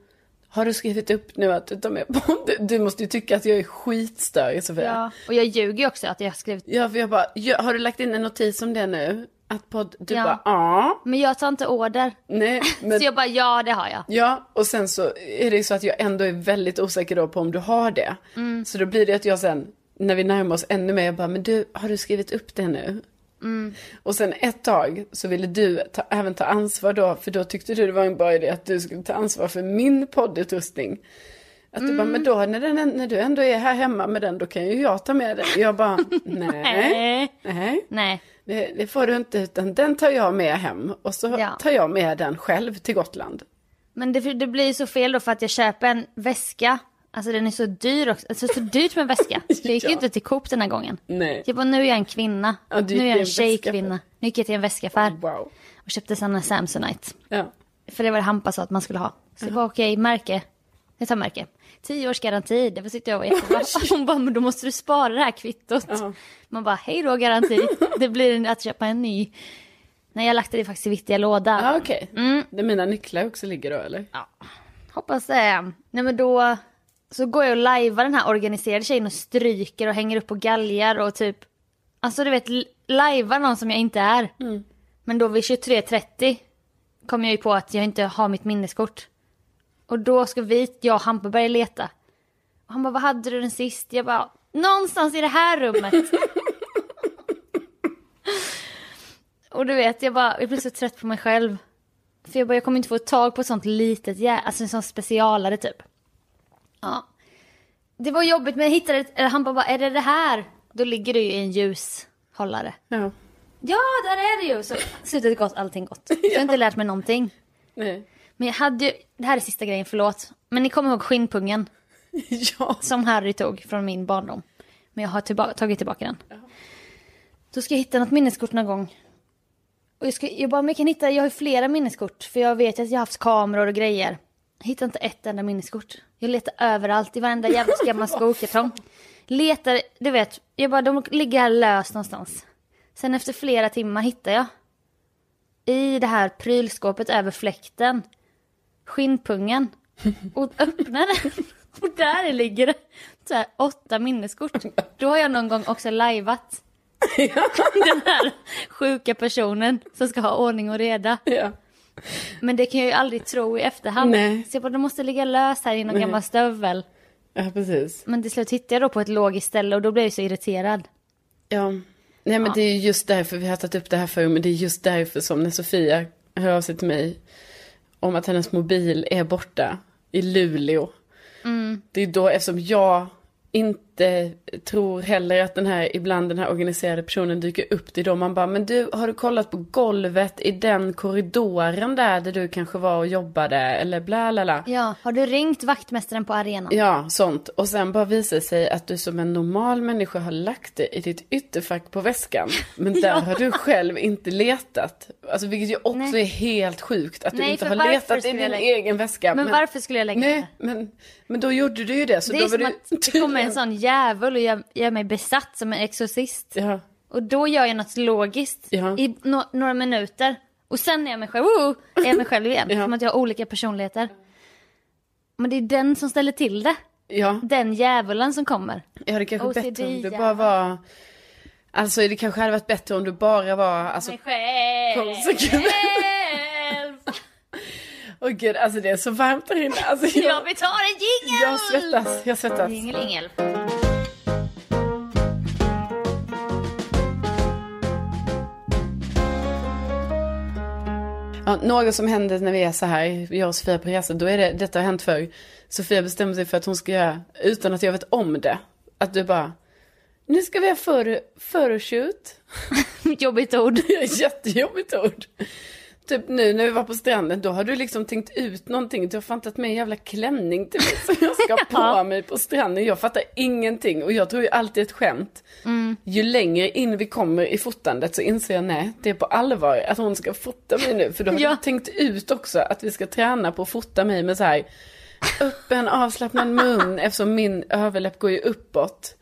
Speaker 1: har du skrivit upp nu att du tar med på [laughs] du, du måste ju tycka att jag är skitstörig Sofia.
Speaker 2: Ja. Och jag ljuger ju också att jag har skrivit.
Speaker 1: Ja, för jag bara, "Ja, har du lagt in en notis om det nu? Att podd, du
Speaker 2: Ja.
Speaker 1: bara, ja.
Speaker 2: Men jag tar inte order.
Speaker 1: Nej, men,
Speaker 2: [laughs] Så jag bara ja det har jag.
Speaker 1: ja, och sen så är det ju så att jag ändå är väldigt osäker då på om du har det.
Speaker 2: Mm.
Speaker 1: Så då blir det att jag sen, när vi närmar oss ännu mer, jag bara, men du, har du skrivit upp det nu?
Speaker 2: Mm.
Speaker 1: Och sen ett tag så ville du ta, även ta ansvar då, för då tyckte du det var en bra idé att du skulle ta ansvar för min poddutrustning. Att du bara,
Speaker 2: Mm.
Speaker 1: men då när, den, när du ändå är här hemma med den, då kan ju jag ta med den. Jag bara, nej,
Speaker 2: [laughs] Nej.
Speaker 1: nej.
Speaker 2: Nej.
Speaker 1: Det, det får du inte, utan den tar jag med hem och så
Speaker 2: Ja.
Speaker 1: tar jag med den själv till Gotland.
Speaker 2: Men det, det blir ju så fel då för att jag köper en väska. Alltså den är så dyr också. Alltså så dyrt med
Speaker 1: [laughs]
Speaker 2: en väska. Det gick
Speaker 1: Ja.
Speaker 2: ju inte till Coop den här gången.
Speaker 1: Nej.
Speaker 2: Jag bara, nu är jag en kvinna.
Speaker 1: Ja, du
Speaker 2: nu
Speaker 1: gick till
Speaker 2: är jag
Speaker 1: en
Speaker 2: en tjejkvinna.
Speaker 1: väskaffär.
Speaker 2: Nu gick jag till en väskaffär.
Speaker 1: Wow.
Speaker 2: Och köpte sen en Samsonite.
Speaker 1: Ja.
Speaker 2: För det var det Hampa sa att man skulle ha. Så jag bara, okej, märke. Jag tar märke. Tio års garanti, det tyckte jag var
Speaker 1: [laughs]
Speaker 2: jättebra. Hon bara, men då måste du spara det här kvittot. Man bara, hej då garanti. Det blir en- att köpa en ny. Nej, jag lagt det faktiskt i viktiga lådan.
Speaker 1: Ja, Ah, okej. Där mina nycklar också ligger då, eller? Ja.
Speaker 2: Hoppas det. Nej men då så går jag och lajvar den här organiserade tjejen och stryker och hänger upp på galgar och typ. Alltså du vet, l- lajvar någon som jag inte är. Men då vid 23.30 kom jag ju på att jag inte har mitt minneskort. Och då ska vi, jag och Hampa börja leta. Och han bara, vad hade du den sist? Jag bara, någonstans i det här rummet. och du vet, jag bara, jag blir så trött på mig själv. För jag bara, jag kommer inte få tag på ett sånt litet, jä- alltså en sån specialare typ. Ja. Det var jobbigt men jag hittade, ett- eller han bara, är det det här? Då ligger det ju i en ljushållare. Ja, där är det ju! Så slutet gott, allting gott. Så jag har inte lärt mig någonting.
Speaker 1: Nej. [laughs]
Speaker 2: Men jag hade ju, det här är sista grejen, förlåt. Men ni kommer ihåg skinnpungen
Speaker 1: Ja.
Speaker 2: [laughs] som Harry tog från min barndom. Men jag har tillba- tagit tillbaka den. Då ska jag hitta något minneskort någon gång. Och jag, ska, jag bara, men jag kan hitta, jag har ju flera minneskort. För jag vet ju att jag har haft kameror och grejer. Jag hittar inte ett enda minneskort. Jag letar överallt, i varenda jävla gammal skokartong. Letar, du vet, jag bara, de ligger här löst någonstans. Sen efter flera timmar hittar jag. I det här prylskåpet över fläkten. Skinnpungen. Och öppnar den. Och [laughs] där ligger det så här, åtta minneskort. Då har jag någon gång också lajvat
Speaker 1: [laughs]
Speaker 2: den här sjuka personen som ska ha ordning och reda.
Speaker 1: ja.
Speaker 2: Men det kan jag ju aldrig tro i efterhand.
Speaker 1: Nej.
Speaker 2: Så jag bara, de måste ligga lös här i någon gammal stövel.
Speaker 1: Ja, precis.
Speaker 2: Men till slut hittade jag då på ett logiskt ställe och då blev jag så irriterad.
Speaker 1: Ja. Nej, men det är just därför, vi har tagit upp det här förut, men det är just därför som när Sofia hör av sig till mig om att hennes mobil är borta i Luleå. Det är då, eftersom jag inte tror heller att den här, ibland den här organiserade personen dyker upp, det är då man bara, men du, har du kollat på golvet i den korridoren där, där du kanske var och jobbade, eller bla bla bla.
Speaker 2: Ja, har du ringt vaktmästaren på arenan?
Speaker 1: Ja, sånt. Och sen bara visar det sig att du som en normal människa har lagt det i ditt ytterfack på väskan.
Speaker 2: [laughs]
Speaker 1: Men där har du själv inte letat. Alltså vilket ju också
Speaker 2: Nej.
Speaker 1: är helt sjukt att du
Speaker 2: Nej,
Speaker 1: inte
Speaker 2: för
Speaker 1: har
Speaker 2: varför
Speaker 1: letat i
Speaker 2: skulle
Speaker 1: din
Speaker 2: jag lägga-
Speaker 1: egen väska.
Speaker 2: Men varför skulle jag lägga
Speaker 1: Nej, men, men då gjorde du ju det. Så
Speaker 2: det
Speaker 1: då
Speaker 2: är
Speaker 1: var
Speaker 2: som att
Speaker 1: du...
Speaker 2: det kommer en sån djävul och gör, gör mig besatt som en exorcist.
Speaker 1: Ja,
Speaker 2: Och då gör jag något logiskt
Speaker 1: Ja.
Speaker 2: i no- några minuter. Och sen är jag mig själv, Woo! är jag mig själv igen.
Speaker 1: [laughs] Ja.
Speaker 2: Som att jag har olika personligheter. Men det är den som ställer till det.
Speaker 1: ja.
Speaker 2: Den djävulen som kommer.
Speaker 1: Jag hade kanske
Speaker 2: OCD,
Speaker 1: bättre om du
Speaker 2: ja.
Speaker 1: bara var... Alltså det kanske hade varit bättre om du bara var... Alltså,
Speaker 2: Mig själv.
Speaker 1: konsekvent. Åh gud, alltså det är så varmt här inne. Alltså,
Speaker 2: [laughs] Jag
Speaker 1: jag,
Speaker 2: vill ta en jingel!
Speaker 1: jag svettas, jag svettas.
Speaker 2: Jingelingel.
Speaker 1: Ja, något som händer när vi är så här, jag och Sofia på resa, då är det, detta har hänt förr. Sofia bestämmer sig för att hon ska göra, utan att jag vet om det, att du bara, nu ska vi ha photo- photoshoot.
Speaker 2: Jobbigt
Speaker 1: [laughs]
Speaker 2: ord.
Speaker 1: Det är ett jättejobbigt ord. Typ nu när vi var på stranden, då har du liksom tänkt ut någonting. Du har fan tagit med en jävla klänning till mig som jag
Speaker 2: [laughs]
Speaker 1: ska ha på mig på stranden. Jag fattar ingenting och jag tror ju alltid ett skämt.
Speaker 2: Mm.
Speaker 1: Ju längre in vi kommer i fotandet så inser jag nej, det är på allvar att hon ska fota mig nu. För då har
Speaker 2: Ja.
Speaker 1: du tänkt ut också att vi ska träna på att fota mig med så här öppen avslappnad mun eftersom min överläpp går ju uppåt.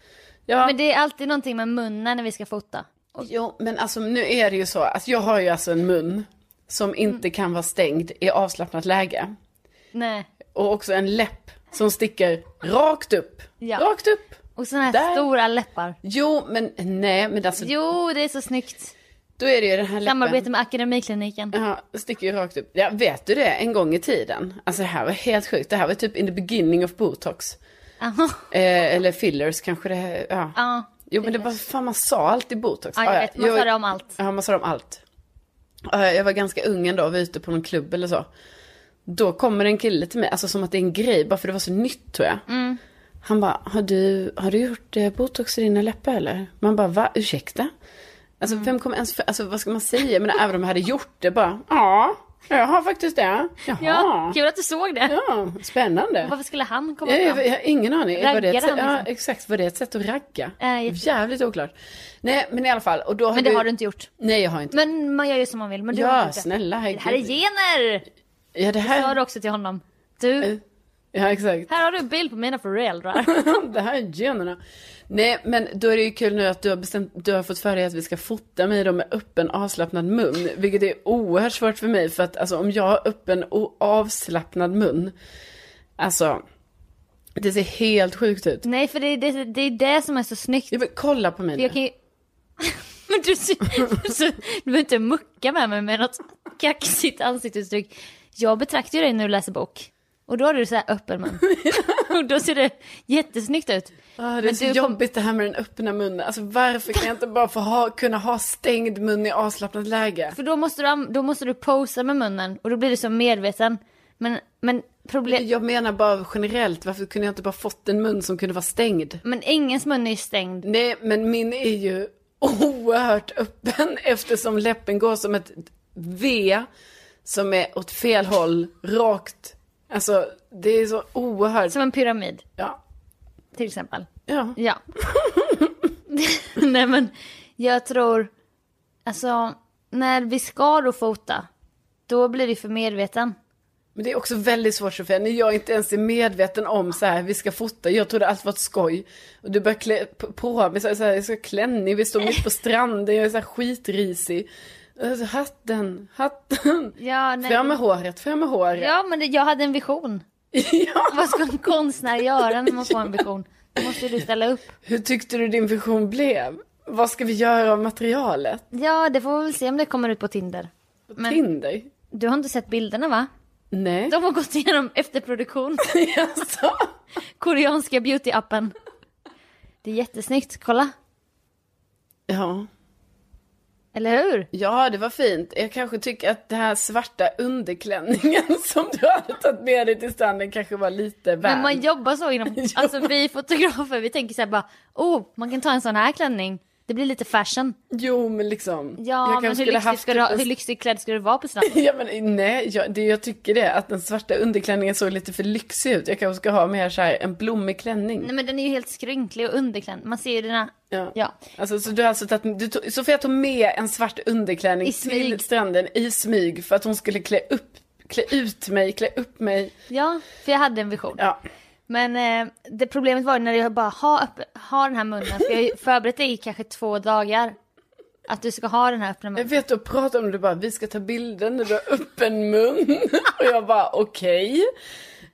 Speaker 1: Ja.
Speaker 2: Men det är alltid någonting med munnen när vi ska fota.
Speaker 1: Jo, men alltså nu är det ju så att jag har ju alltså en mun som inte
Speaker 2: Mm.
Speaker 1: kan vara stängd i avslappnat läge.
Speaker 2: Nej.
Speaker 1: Och också en läpp som sticker rakt upp.
Speaker 2: Ja.
Speaker 1: Rakt upp.
Speaker 2: Och sådana här
Speaker 1: Där.
Speaker 2: stora läppar.
Speaker 1: Jo, men nej, men alltså
Speaker 2: Jo, det är så snyggt.
Speaker 1: då är det ju den här läppen.
Speaker 2: Samarbete med Akademikliniken.
Speaker 1: Ja, sticker ju rakt upp. Ja, vet du det? En gång i tiden. Alltså det här var helt sjukt. Det här var typ in the beginning of botox.
Speaker 2: Aha.
Speaker 1: Eh, eller fillers kanske det, ja.
Speaker 2: Ja.
Speaker 1: Jo men det var, fan man sa alltid botox. Ah,
Speaker 2: Ja, jag vet. Man sa det om allt.
Speaker 1: Ja, man sa det om allt. Ah, Ja, Jag var ganska ung en dag och var ute på någon klubb eller så. Då kommer en kille till mig, alltså som att det är en grej, bara för det var så nytt tror jag.
Speaker 2: Mm.
Speaker 1: Han bara, har du, har du gjort eh, botox i dina läppar eller? Man bara, va? Ursäkta? Alltså
Speaker 2: Mm.
Speaker 1: vem kommer ens, för, alltså vad ska man säga? Men även om jag hade gjort det bara, ja, jag har faktiskt det. Jaha,
Speaker 2: Ja,
Speaker 1: ja,
Speaker 2: kul att du såg det.
Speaker 1: spännande.
Speaker 2: Varför skulle han komma
Speaker 1: Jag,
Speaker 2: fram?
Speaker 1: jag, jag har ingen aning. Var det ett,
Speaker 2: Raggade
Speaker 1: sätt-
Speaker 2: han liksom?
Speaker 1: ja, exakt, var det ett sätt att ragga?
Speaker 2: Nej, jag-
Speaker 1: Jävligt oklart. Nej, men i alla fall. Och då har
Speaker 2: Men det har du inte gjort.
Speaker 1: Nej, jag har inte.
Speaker 2: Men man gör ju som man vill. Men du
Speaker 1: Ja,
Speaker 2: har inte.
Speaker 1: snälla,
Speaker 2: Det här är
Speaker 1: herregud.
Speaker 2: gener!
Speaker 1: ja, det
Speaker 2: Sa du
Speaker 1: här...
Speaker 2: också till honom. Du,
Speaker 1: Ja, exakt.
Speaker 2: här har du en bild på
Speaker 1: [laughs]
Speaker 2: mina föräldrar.
Speaker 1: det här är generna. Nej, men då är det ju kul nu att du har, bestämt, du har fått för dig att vi ska fota mig då med öppen avslappnad mun. Vilket är oerhört svårt för mig. För att alltså, om jag har öppen och avslappnad mun. Alltså, det ser helt sjukt ut.
Speaker 2: Nej, för det är det, det, är det som är så snyggt.
Speaker 1: Ja, men kolla på mig
Speaker 2: För
Speaker 1: nu.
Speaker 2: jag kan ju... [laughs] Men du, ser- du, ser- du behöver inte mucka med mig med något kaxigt ansiktsuttryck. Jag betraktar ju dig när du läser bok. Och då har du så här
Speaker 1: [laughs]
Speaker 2: öppen mun. [laughs] Och då ser det jättesnyggt ut.
Speaker 1: Ah, det är
Speaker 2: Men
Speaker 1: så
Speaker 2: du kom-
Speaker 1: jobbigt det här med den öppna munnen. Alltså varför kan jag inte bara få ha, kunna ha stängd mun i avslappnat läge?
Speaker 2: För då måste du, an- då måste du posa med munnen och då blir du så medveten. Men, men problem...
Speaker 1: Jag menar bara generellt, varför kunde jag inte bara fått en mun som kunde vara stängd?
Speaker 2: Men ingens mun är ju stängd.
Speaker 1: Nej, men min är ju oerhört öppen [laughs] eftersom läppen går som ett V som är åt fel håll, rakt. Alltså, det är så oerhört.
Speaker 2: Som en pyramid,
Speaker 1: Ja.
Speaker 2: till exempel.
Speaker 1: ja.
Speaker 2: Ja. [laughs] nej men, jag tror... Alltså, när vi ska då fota, då blir vi för medveten.
Speaker 1: Men det är också väldigt svårt Sofia, när jag inte ens är medveten om så här, vi ska fota, jag trodde allt var ett skoj. Och du börjar klä på- på mig, så här, så här, jag ska ha klänning, vi står mitt på stranden, jag är så här skitrisig. Alltså, hatten, hatten.
Speaker 2: Ja, nej.
Speaker 1: Fram med håret, fram med håret.
Speaker 2: Ja, men det, jag hade en vision.
Speaker 1: [laughs] Ja.
Speaker 2: Vad ska en konstnär göra när man får en vision? Då måste du ställa upp.
Speaker 1: Hur tyckte du din vision blev? Vad ska vi göra av materialet?
Speaker 2: Ja, det får vi väl se om det kommer ut på Tinder. Men-
Speaker 1: Tinder?
Speaker 2: Du har inte sett bilderna va?
Speaker 1: Nej.
Speaker 2: De har gått igenom [laughs] efterproduktion.
Speaker 1: Alltså.
Speaker 2: Koreanska beauty-appen. Det är jättesnyggt, kolla.
Speaker 1: Ja.
Speaker 2: Eller hur?
Speaker 1: ja, det var fint. Jag kanske tycker att den här svarta underklänningen [laughs] som du hade tagit med dig till stranden kanske var lite väl.
Speaker 2: Men man jobbar så [laughs] inom, alltså vi fotografer, vi tänker så här bara, oh, man kan ta en sån här klänning. Det blir lite fashion.
Speaker 1: Jo, men liksom.
Speaker 2: Ja, men hur lyxig, ska du, ha- hur
Speaker 1: typ en-
Speaker 2: lyxig klädd ska du vara på stranden?
Speaker 1: [laughs] Ja, men nej, jag, det, jag tycker det. Att den svarta underklänningen såg lite för lyxig ut. Jag kanske ska ha mer så här en blommig klänning.
Speaker 2: Nej men den är ju helt skrynklig och underklädd. Man ser ju dina,
Speaker 1: Ja.
Speaker 2: ja.
Speaker 1: Alltså, så du har alltså tagit, du tog, Sofia tog med en svart underklänning
Speaker 2: I
Speaker 1: till
Speaker 2: smyg.
Speaker 1: stranden i smyg för att hon skulle klä upp, klä ut mig, klä upp mig.
Speaker 2: Ja, för jag hade en vision.
Speaker 1: Ja,
Speaker 2: Men eh, det problemet var ju när jag bara ha, öpp- ha den här munnen, för jag har ju [laughs] förberett dig i kanske två dagar. Att du ska ha den här öppna
Speaker 1: jag
Speaker 2: munnen.
Speaker 1: vet du pratade om det bara, vi ska ta bilder när du har öppen mun. [laughs] och jag bara, okej.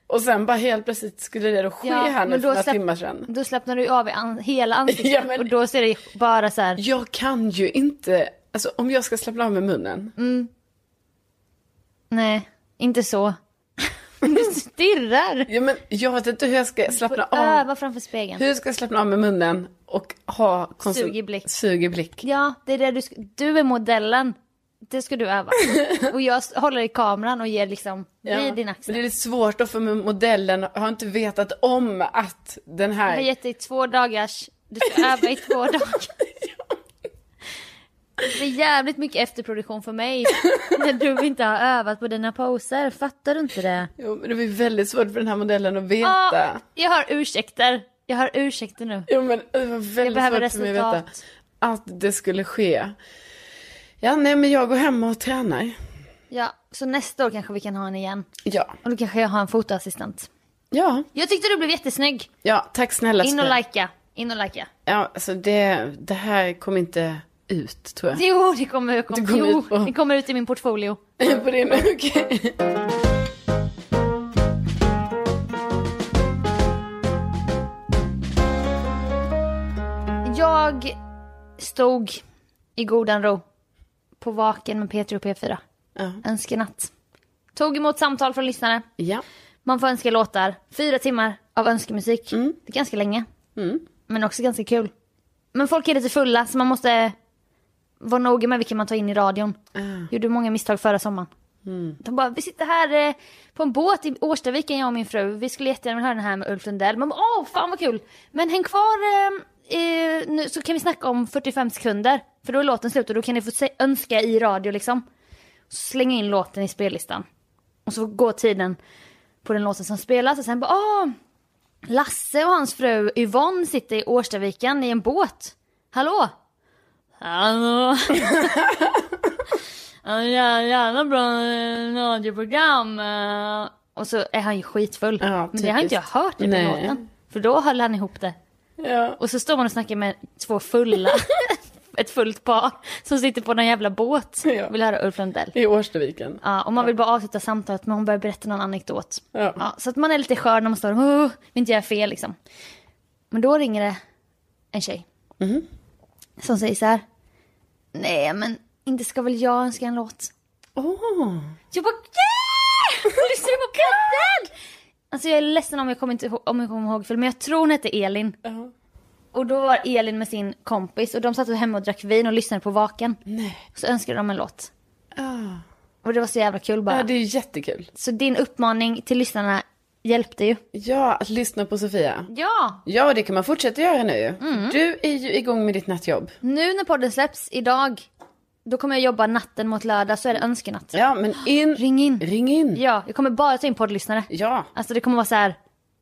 Speaker 1: Och sen bara helt plötsligt skulle det då ske här nu för några
Speaker 2: slapp-
Speaker 1: timmar sedan.
Speaker 2: då slappnar du ju av i an- hela ansiktet
Speaker 1: Ja, men-
Speaker 2: och då ser det bara så här.
Speaker 1: Jag kan ju inte, alltså om jag ska slappna av med munnen.
Speaker 2: Mm. nej, inte så. [laughs] du stirrar.
Speaker 1: Ja, men jag vet inte hur jag ska slappna
Speaker 2: Du får
Speaker 1: av.
Speaker 2: Öva framför spegeln.
Speaker 1: Hur ska jag slappna av med munnen och ha konsum-
Speaker 2: Sug i blick.
Speaker 1: Sug i blick.
Speaker 2: Ja, det är det du ska... Du är modellen. Det ska
Speaker 1: [laughs]
Speaker 2: du öva. och jag s- håller i kameran och ger liksom
Speaker 1: Ja,
Speaker 2: vid din axel.
Speaker 1: Men det är lite svårt då för modellen har inte vetat om att den
Speaker 2: Jag har
Speaker 1: här...
Speaker 2: gett dig två dagars, du
Speaker 1: [laughs]
Speaker 2: ska öva i två dagar. Det blir jävligt mycket efterproduktion för mig när du inte har övat på dina poser. Fattar du inte det?
Speaker 1: Jo, men det blir väldigt svårt för den här modellen att
Speaker 2: Ja,
Speaker 1: veta.
Speaker 2: jag har ursäkter. Jag har ursäkter nu.
Speaker 1: Jo, men det var väldigt
Speaker 2: Jag behöver
Speaker 1: svårt för mig att veta
Speaker 2: resultat.
Speaker 1: att det skulle ske. Ja, nej, men jag går hem och tränar.
Speaker 2: Ja, så nästa år kanske vi kan ha en igen.
Speaker 1: Ja,
Speaker 2: Och då kanske jag har en fotoassistent.
Speaker 1: ja,
Speaker 2: Jag tyckte du blev jättesnygg.
Speaker 1: ja tack snälla.
Speaker 2: In och
Speaker 1: Sofia.
Speaker 2: likea. In och likea.
Speaker 1: Ja, alltså det, det här kom inte ut, tror jag.
Speaker 2: Jo, det kommer, kom,
Speaker 1: Det kommer
Speaker 2: jo,
Speaker 1: ut på-
Speaker 2: det kommer ut i min portfolio.
Speaker 1: på [laughs] din, okej.
Speaker 2: Jag stod i godan ro på Vaken med P3 och P4.
Speaker 1: Ja.
Speaker 2: Önskenatt. Tog emot samtal från lyssnare.
Speaker 1: ja.
Speaker 2: Man får önska låtar. Fyra timmar av önskemusik. Det är ganska länge. Men också ganska kul. Men folk är lite fulla så man måste vara noga med vilka man tar in i radion. Gjorde många misstag förra sommaren. De bara, vi sitter här eh, på en båt i Årstaviken jag och min fru. Vi skulle jättegärna vilja höra den här med Ulf Lundell. Man bara, åh fan vad kul. Men häng kvar eh, eh, nu så kan vi snacka om 45 sekunder. För då är låten slut och då kan ni få se- önska i radio liksom. Så slänga in låten i spellistan. Och så går tiden på den låten som spelas och sen bara åh! Lasse och hans fru Yvonne sitter i Årstaviken i en båt. Hallå? Hallå? [laughs] Ja, jä- jävla bra eh, radioprogram. eh. Och så är han ju skitfull.
Speaker 1: Ja,
Speaker 2: Men det har inte jag
Speaker 1: typiskt.
Speaker 2: hört i den
Speaker 1: Nej.
Speaker 2: låten. För då höll han ihop det.
Speaker 1: ja.
Speaker 2: Och så står man och snackar med två fulla, [laughs] ett fullt par som sitter på någon jävla båt.
Speaker 1: Ja.
Speaker 2: Vill höra Ulf Lundell.
Speaker 1: I Årstaviken.
Speaker 2: Ja, och man vill bara avsluta samtalet men hon börjar berätta någon anekdot.
Speaker 1: Ja.
Speaker 2: Ja, så att man är lite skör när man står och "Åh, vill inte göra fel liksom. Men då ringer det en tjej.
Speaker 1: Mhm.
Speaker 2: Som säger så här. Nej men inte ska väl jag önska en låt.
Speaker 1: Åh.
Speaker 2: Jag bara yeah! Du ser på katten! Alltså jag är ledsen om jag kommer, inte, ihå- om jag kommer ihåg fel men jag tror hon hette Elin.
Speaker 1: Ja.
Speaker 2: Och då var Elin med sin kompis och de satt hemma och drack vin och lyssnade på Vaken.
Speaker 1: Nej.
Speaker 2: Så önskade de en låt.
Speaker 1: Ja. Ah.
Speaker 2: Och det var så jävla kul bara.
Speaker 1: Ja, det är ju jättekul.
Speaker 2: Så din uppmaning till lyssnarna, hjälpte ju.
Speaker 1: Ja, att lyssna på Sofia.
Speaker 2: Ja,
Speaker 1: Ja, det kan man fortsätta göra nu ju. Du är ju igång med ditt nattjobb.
Speaker 2: nu när podden släpps idag, då kommer jag jobba natten mot lördag, så är det önskenatt.
Speaker 1: Mm. Ja, men in.
Speaker 2: Ring in.
Speaker 1: Ring in. Ja.
Speaker 2: Ja, jag kommer bara ta in poddlyssnare.
Speaker 1: Ja,
Speaker 2: Alltså det kommer vara så här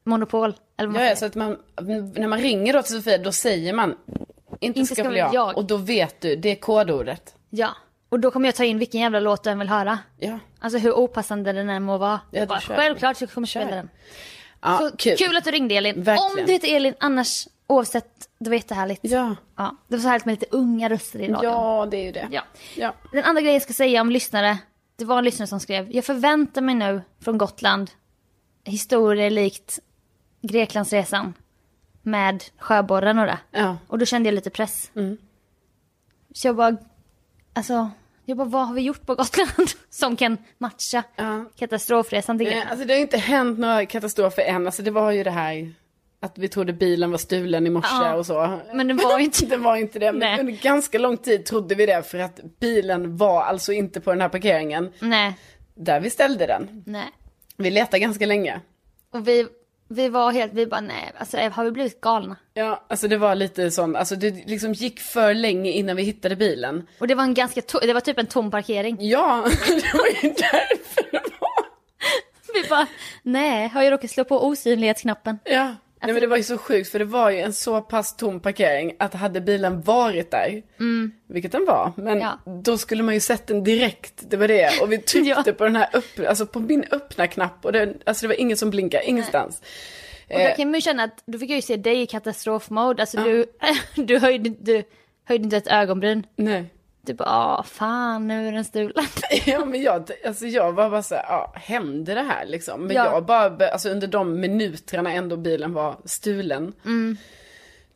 Speaker 2: monopol. Eller vad man
Speaker 1: ja
Speaker 2: säger.
Speaker 1: så att man, när man ringer då till Sofia, då säger man inte, ska, väl jag. Och då vet du, det är kodordet.
Speaker 2: ja. Och då kommer jag ta in vilken jävla låt du än vill höra.
Speaker 1: Ja,
Speaker 2: Alltså hur opassande den än må vara.
Speaker 1: Ja, du
Speaker 2: Bara,
Speaker 1: kör.
Speaker 2: Självklart så kommer jag spela
Speaker 1: Kör.
Speaker 2: den.
Speaker 1: ja
Speaker 2: Så
Speaker 1: kul.
Speaker 2: kul. att du ringde Elin.
Speaker 1: Verkligen.
Speaker 2: Om du heter Elin, annars oavsett, det var jättehärligt.
Speaker 1: Ja.
Speaker 2: Ja, det var så härligt med lite unga röster i radion.
Speaker 1: ja, det är ju det.
Speaker 2: Ja.
Speaker 1: ja.
Speaker 2: Den andra grejen jag ska säga om lyssnare, det var en lyssnare som skrev, jag förväntar mig nu från Gotland historier likt Greklandsresan med sjöborren och det.
Speaker 1: Ja. Mm.
Speaker 2: Och då kände jag lite press. Så jag bara, alltså, jag bara, vad har vi gjort på Gotland [laughs] som kan matcha
Speaker 1: Ja.
Speaker 2: katastrofresan till
Speaker 1: Eh,
Speaker 2: Grekland?
Speaker 1: Alltså det har ju inte hänt några katastrofer än. Alltså det var ju det här att vi trodde bilen var stulen i morse
Speaker 2: Ja.
Speaker 1: och så.
Speaker 2: Men den var ju
Speaker 1: [laughs]
Speaker 2: inte-
Speaker 1: det. var inte det. Men
Speaker 2: Nej.
Speaker 1: under ganska lång tid trodde vi det för att bilen var alltså inte på den här parkeringen.
Speaker 2: Nej,
Speaker 1: Där vi ställde den.
Speaker 2: nej.
Speaker 1: Vi letade ganska länge.
Speaker 2: Och vi, vi var helt, vi bara nej, alltså har vi blivit galna?
Speaker 1: Ja, alltså det var lite sån, alltså det liksom gick för länge innan vi hittade bilen.
Speaker 2: Och det var en ganska, to- det var typ en tom parkering.
Speaker 1: Ja, [laughs] det var ju därför det var.
Speaker 2: Vi bara, nej, har jag råkat slå på osynlighetsknappen?
Speaker 1: Ja. Nej
Speaker 2: Alltså-
Speaker 1: men det var ju så sjukt för det var ju en så pass tom parkering att hade bilen varit där, vilket den var, men
Speaker 2: Mm. Ja.
Speaker 1: då skulle man ju sett den direkt, det var det.
Speaker 2: [laughs]
Speaker 1: Och vi tryckte
Speaker 2: Ja.
Speaker 1: på den här öppna, alltså på min öppna knapp och den, alltså det var ingen som blinkade, ingenstans. Eh.
Speaker 2: Och då kan man ju känna att, då fick jag ju se dig i katastrofmode, alltså du, [laughs] du, höjde, du höjde inte ett ögonbryn.
Speaker 1: Nej.
Speaker 2: Du bara, ah fan nu är
Speaker 1: [laughs]
Speaker 2: den stulen.
Speaker 1: Ja men jag, alltså jag var bara såhär, ja hände det här liksom? Men
Speaker 2: Ja.
Speaker 1: jag bara, be- alltså under de minuterna ändå bilen var stulen.
Speaker 2: Mm.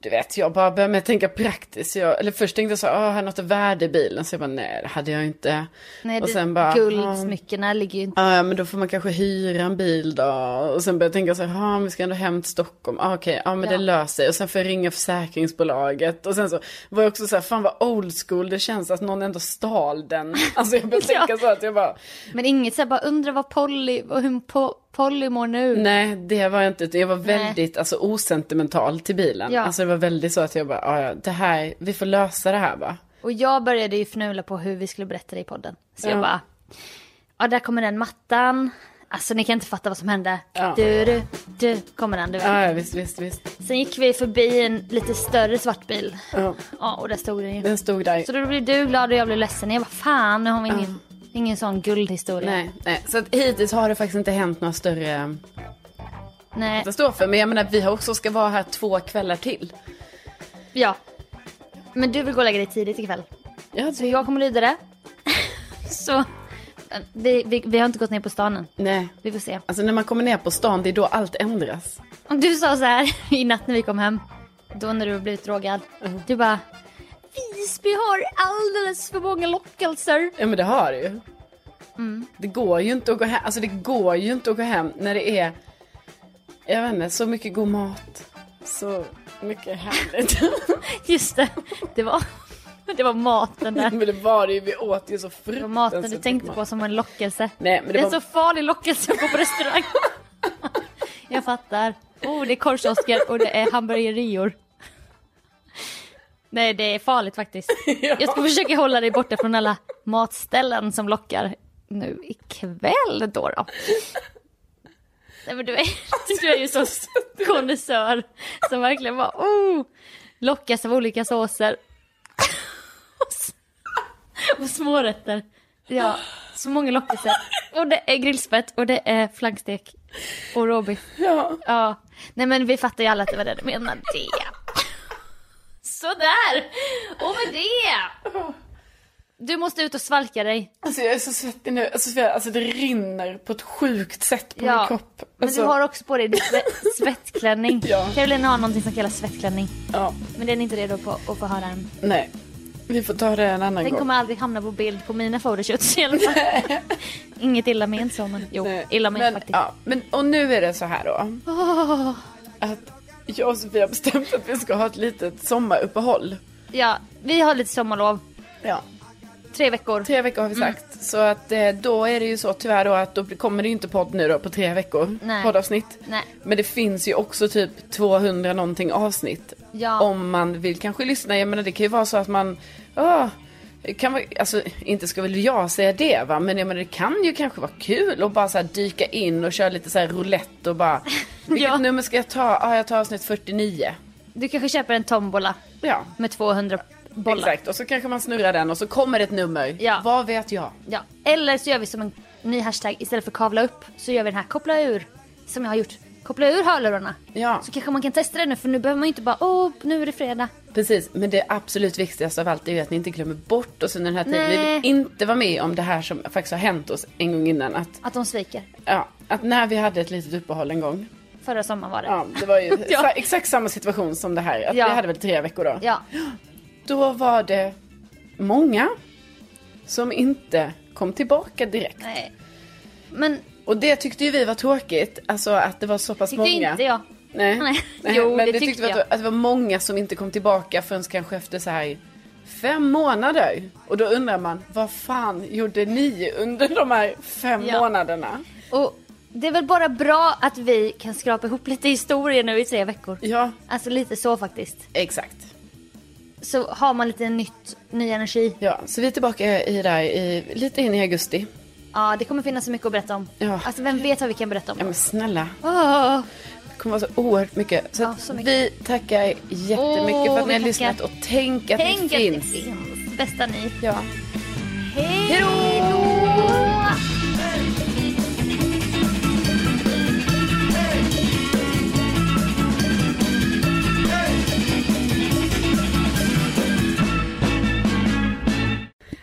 Speaker 1: Du vet, jag bara började med att tänka praktiskt. Jag, eller först tänkte jag så här, "Ah, har jag något av värde i bilen? Så jag bara, nej det hade jag inte.
Speaker 2: Nej,
Speaker 1: och
Speaker 2: det-
Speaker 1: sen bara, "Ah,
Speaker 2: Guldsmyckena ligger ju inte...
Speaker 1: Ja, ja, men då får man kanske hyra en bil då. Och sen börjar jag tänka så här, "Ha, men vi ska ändå hem till Stockholm. Ah, Okej, ja men
Speaker 2: Ja.
Speaker 1: det löser sig. Och sen får jag ringa försäkringsbolaget. Och sen så var jag också så här, fan vad old school det känns att någon ändå stal
Speaker 2: [laughs]
Speaker 1: den. Alltså jag började
Speaker 2: Ja.
Speaker 1: tänka så att jag bara,
Speaker 2: Men inget såhär bara undrar vad Polly, vad- hur po, Polly mår nu.
Speaker 1: nej det var jag inte. utan Jag var väldigt alltså, osentimental till bilen.
Speaker 2: Ja.
Speaker 1: Alltså det var väldigt så att jag bara, "Ah, ja det här, vi får lösa det här va.
Speaker 2: Och jag började ju fnula på hur vi skulle berätta det i podden. Så
Speaker 1: Ja.
Speaker 2: jag bara, ja där kommer den mattan. Alltså ni kan inte fatta vad som hände.
Speaker 1: Ja.
Speaker 2: Du, du, du, kommer den du. vet.
Speaker 1: Ja, ja visst, visst, visst.
Speaker 2: Sen gick vi förbi en lite större svart bil.
Speaker 1: Ja,
Speaker 2: Ja, och där stod den ju.
Speaker 1: Mm. den stod där.
Speaker 2: Så då blev du glad och jag blev ledsen. Jag bara, fan nu har vi ingen, ingen sån guldhistoria.
Speaker 1: Nej, nej. Så att hittills har det faktiskt inte hänt några större
Speaker 2: Nej.
Speaker 1: katastrofer. Men jag menar vi har också ska vara här två kvällar till.
Speaker 2: Ja. Men du vill gå och lägga dig tidigt ikväll.
Speaker 1: Ja,
Speaker 2: Så jag kommer lyda det. [laughs] Så, eh, vi, vi, vi har inte gått ner på stan än.
Speaker 1: Nej.
Speaker 2: Vi får se.
Speaker 1: Alltså när man kommer ner på stan, det är då allt ändras.
Speaker 2: Om du sa så här [laughs] i natt när vi kom hem, då när du blev drogad.
Speaker 1: Mm.
Speaker 2: Du bara, Visby har alldeles för många lockelser. [laughs]
Speaker 1: Ja men det har det ju.
Speaker 2: Mm.
Speaker 1: Det går ju inte att gå hem, alltså det går ju inte att gå hem när det är, jag vet inte, så mycket god mat. Så mycket härligt. [laughs]
Speaker 2: Just det, det var, [laughs] det var maten där.
Speaker 1: men det var det ju, vi åt ju så
Speaker 2: Det var
Speaker 1: fruktansvärt
Speaker 2: maten du
Speaker 1: mycket
Speaker 2: tänkte
Speaker 1: mat.
Speaker 2: på som en lockelse.
Speaker 1: Nej, men det
Speaker 2: det är
Speaker 1: var-
Speaker 2: en så farlig lockelse att gå på restaurang. [laughs] Jag fattar. Oh, det är korvkiosker och det är hamburgerior. Nej, det är
Speaker 1: [laughs]
Speaker 2: farligt faktiskt. Jag ska försöka hålla dig borta från alla matställen som lockar nu ikväll då. då. Nej, men du, är, du är ju så [laughs] konnässör som verkligen bara oh, lockas av olika såser. Och s- Och smårätter. Ja, så många lockelser. Och det är grillspett och det är flankstek och råbiff.
Speaker 1: Ja.
Speaker 2: Ja, nej men vi fattar ju alla att det var det du menade. Sådär! Och med det! Du måste ut och svalka dig.
Speaker 1: Alltså jag är så svettig nu, alltså, Sofia, alltså det rinner på ett sjukt sätt på min
Speaker 2: Ja.
Speaker 1: kropp.
Speaker 2: Men
Speaker 1: Alltså,
Speaker 2: du har också på dig din sve- [laughs] svettklänning.
Speaker 1: Ja.
Speaker 2: Caroline har någonting som kallas svettklänning.
Speaker 1: Ja,
Speaker 2: Men den är inte redo på att få höra än.
Speaker 1: nej. Vi får ta det en annan
Speaker 2: Den
Speaker 1: gång.
Speaker 2: kommer aldrig hamna på bild på mina photoshoots i alla fall. Inget illa ment så men jo,
Speaker 1: Nej.
Speaker 2: illa ment
Speaker 1: Eh, men,
Speaker 2: faktiskt. Ah.
Speaker 1: Ja, men, och nu är det så här då. Att jag och Sofia har bestämt att vi ska ha ett litet sommaruppehåll.
Speaker 2: Ja, vi har lite sommarlov.
Speaker 1: Ja.
Speaker 2: Tre veckor.
Speaker 1: Tre veckor har vi
Speaker 2: Mm.
Speaker 1: sagt. Så att eh, då är det ju så tyvärr då att då kommer det ju inte podd nu då på tre veckor.
Speaker 2: Nej.
Speaker 1: Poddavsnitt.
Speaker 2: Nej.
Speaker 1: Men det finns ju också typ 200 någonting avsnitt.
Speaker 2: Ja.
Speaker 1: Om man vill kanske lyssna. Jag menar det kan ju vara så att man, ah, det kan vara, alltså inte ska väl jag säga det va. Men jag menar det kan ju kanske vara kul att bara så här dyka in och köra lite så här roulette och
Speaker 2: [laughs]
Speaker 1: bara. Vilket
Speaker 2: Ja.
Speaker 1: nummer ska jag ta? Ah, jag tar avsnitt 49.
Speaker 2: Du kanske köper en tombola
Speaker 1: Ja.
Speaker 2: med 200 bollar.
Speaker 1: Exakt, och så kanske man snurrar den och så kommer det ett nummer.
Speaker 2: Ja.
Speaker 1: Vad vet jag?
Speaker 2: Ja. Eller så gör vi som en ny hashtag istället för kavla upp så gör vi den här koppla ur som jag har gjort. Koppla ur hörlurarna.
Speaker 1: Ja.
Speaker 2: Så kanske man kan testa det nu för nu behöver man ju inte bara åh nu är det fredag.
Speaker 1: Precis, men det absolut viktigaste av allt är ju att ni inte glömmer bort oss under den här tiden.
Speaker 2: Nej.
Speaker 1: Vi vill inte vara med om det här som faktiskt har hänt oss en gång innan. Att,
Speaker 2: Att de sviker.
Speaker 1: ja, att när vi hade ett litet uppehåll en gång.
Speaker 2: Förra sommaren var det.
Speaker 1: Ja, det
Speaker 2: [laughs]
Speaker 1: var ju
Speaker 2: Ja.
Speaker 1: sa- exakt samma situation som det här. Att
Speaker 2: Ja.
Speaker 1: Vi hade väl tre veckor då.
Speaker 2: Ja.
Speaker 1: Då var det många som inte kom tillbaka direkt.
Speaker 2: Nej. Men
Speaker 1: Och det tyckte ju vi var tråkigt. Alltså att det var så pass
Speaker 2: tyckte
Speaker 1: många.
Speaker 2: inte jag.
Speaker 1: Nej.
Speaker 2: Nej.
Speaker 1: Nej,
Speaker 2: [laughs] Jo,
Speaker 1: men
Speaker 2: det
Speaker 1: vi
Speaker 2: tyckte
Speaker 1: tyckte
Speaker 2: jag.
Speaker 1: Att, att det var många som inte kom tillbaka förrän kanske efter så här fem månader. Och då undrar man, vad fan gjorde ni under de här fem
Speaker 2: Ja.
Speaker 1: månaderna?
Speaker 2: Och det är väl bara bra att vi kan skrapa ihop lite historier nu i tre veckor.
Speaker 1: Ja,
Speaker 2: Alltså lite så faktiskt.
Speaker 1: exakt.
Speaker 2: Så har man lite nytt, ny energi.
Speaker 1: Ja, så vi är tillbaka i där i, lite in i augusti.
Speaker 2: Ja, det kommer finnas så mycket att berätta om.
Speaker 1: Ja.
Speaker 2: Alltså vem vet vad vi kan berätta om.
Speaker 1: Ja men snälla,
Speaker 2: Åh,
Speaker 1: det kommer vara så oerhört mycket. Så,
Speaker 2: Ja,
Speaker 1: att
Speaker 2: så mycket.
Speaker 1: vi tackar jättemycket för
Speaker 2: Åh,
Speaker 1: att ni
Speaker 2: vi
Speaker 1: har
Speaker 2: tackar.
Speaker 1: lyssnat och tänk att
Speaker 2: tänk
Speaker 1: ni
Speaker 2: att
Speaker 1: finns.
Speaker 2: det finns. Bästa ni.
Speaker 1: Ja.
Speaker 2: Hej då!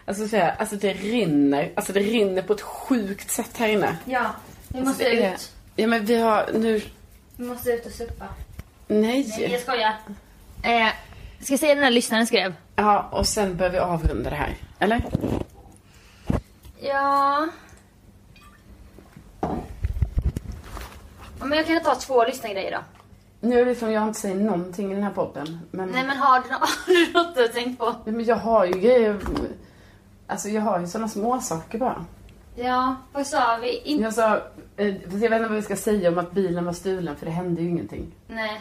Speaker 1: Alltså, så här, alltså det rinner, alltså det rinner på ett sjukt sätt här inne.
Speaker 2: Ja, vi
Speaker 1: Alltså,
Speaker 2: måste
Speaker 1: det är-
Speaker 2: ut.
Speaker 1: Ja men vi har nu,
Speaker 2: Vi måste ut och suppa. Nej, jag
Speaker 1: nej.
Speaker 2: skojar. Eh, ska jag säga den där lyssnaren skrev?
Speaker 1: Ja och sen börjar vi avrunda det här. Eller?
Speaker 2: Ja. Ja, Men jag kan ta två lyssnargrejer då.
Speaker 1: Nu är det som jag inte säger någonting i den här podden. Men,
Speaker 2: Nej men har du, [laughs] nå- har du något du har tänkt på?
Speaker 1: Nej, men jag har ju grejer, alltså jag har ju sådana små saker bara.
Speaker 2: Ja, vad sa vi? In-
Speaker 1: Jag sa, eh, fast jag vet inte vad vi ska säga om att bilen var stulen för det hände ju ingenting.
Speaker 2: Nej.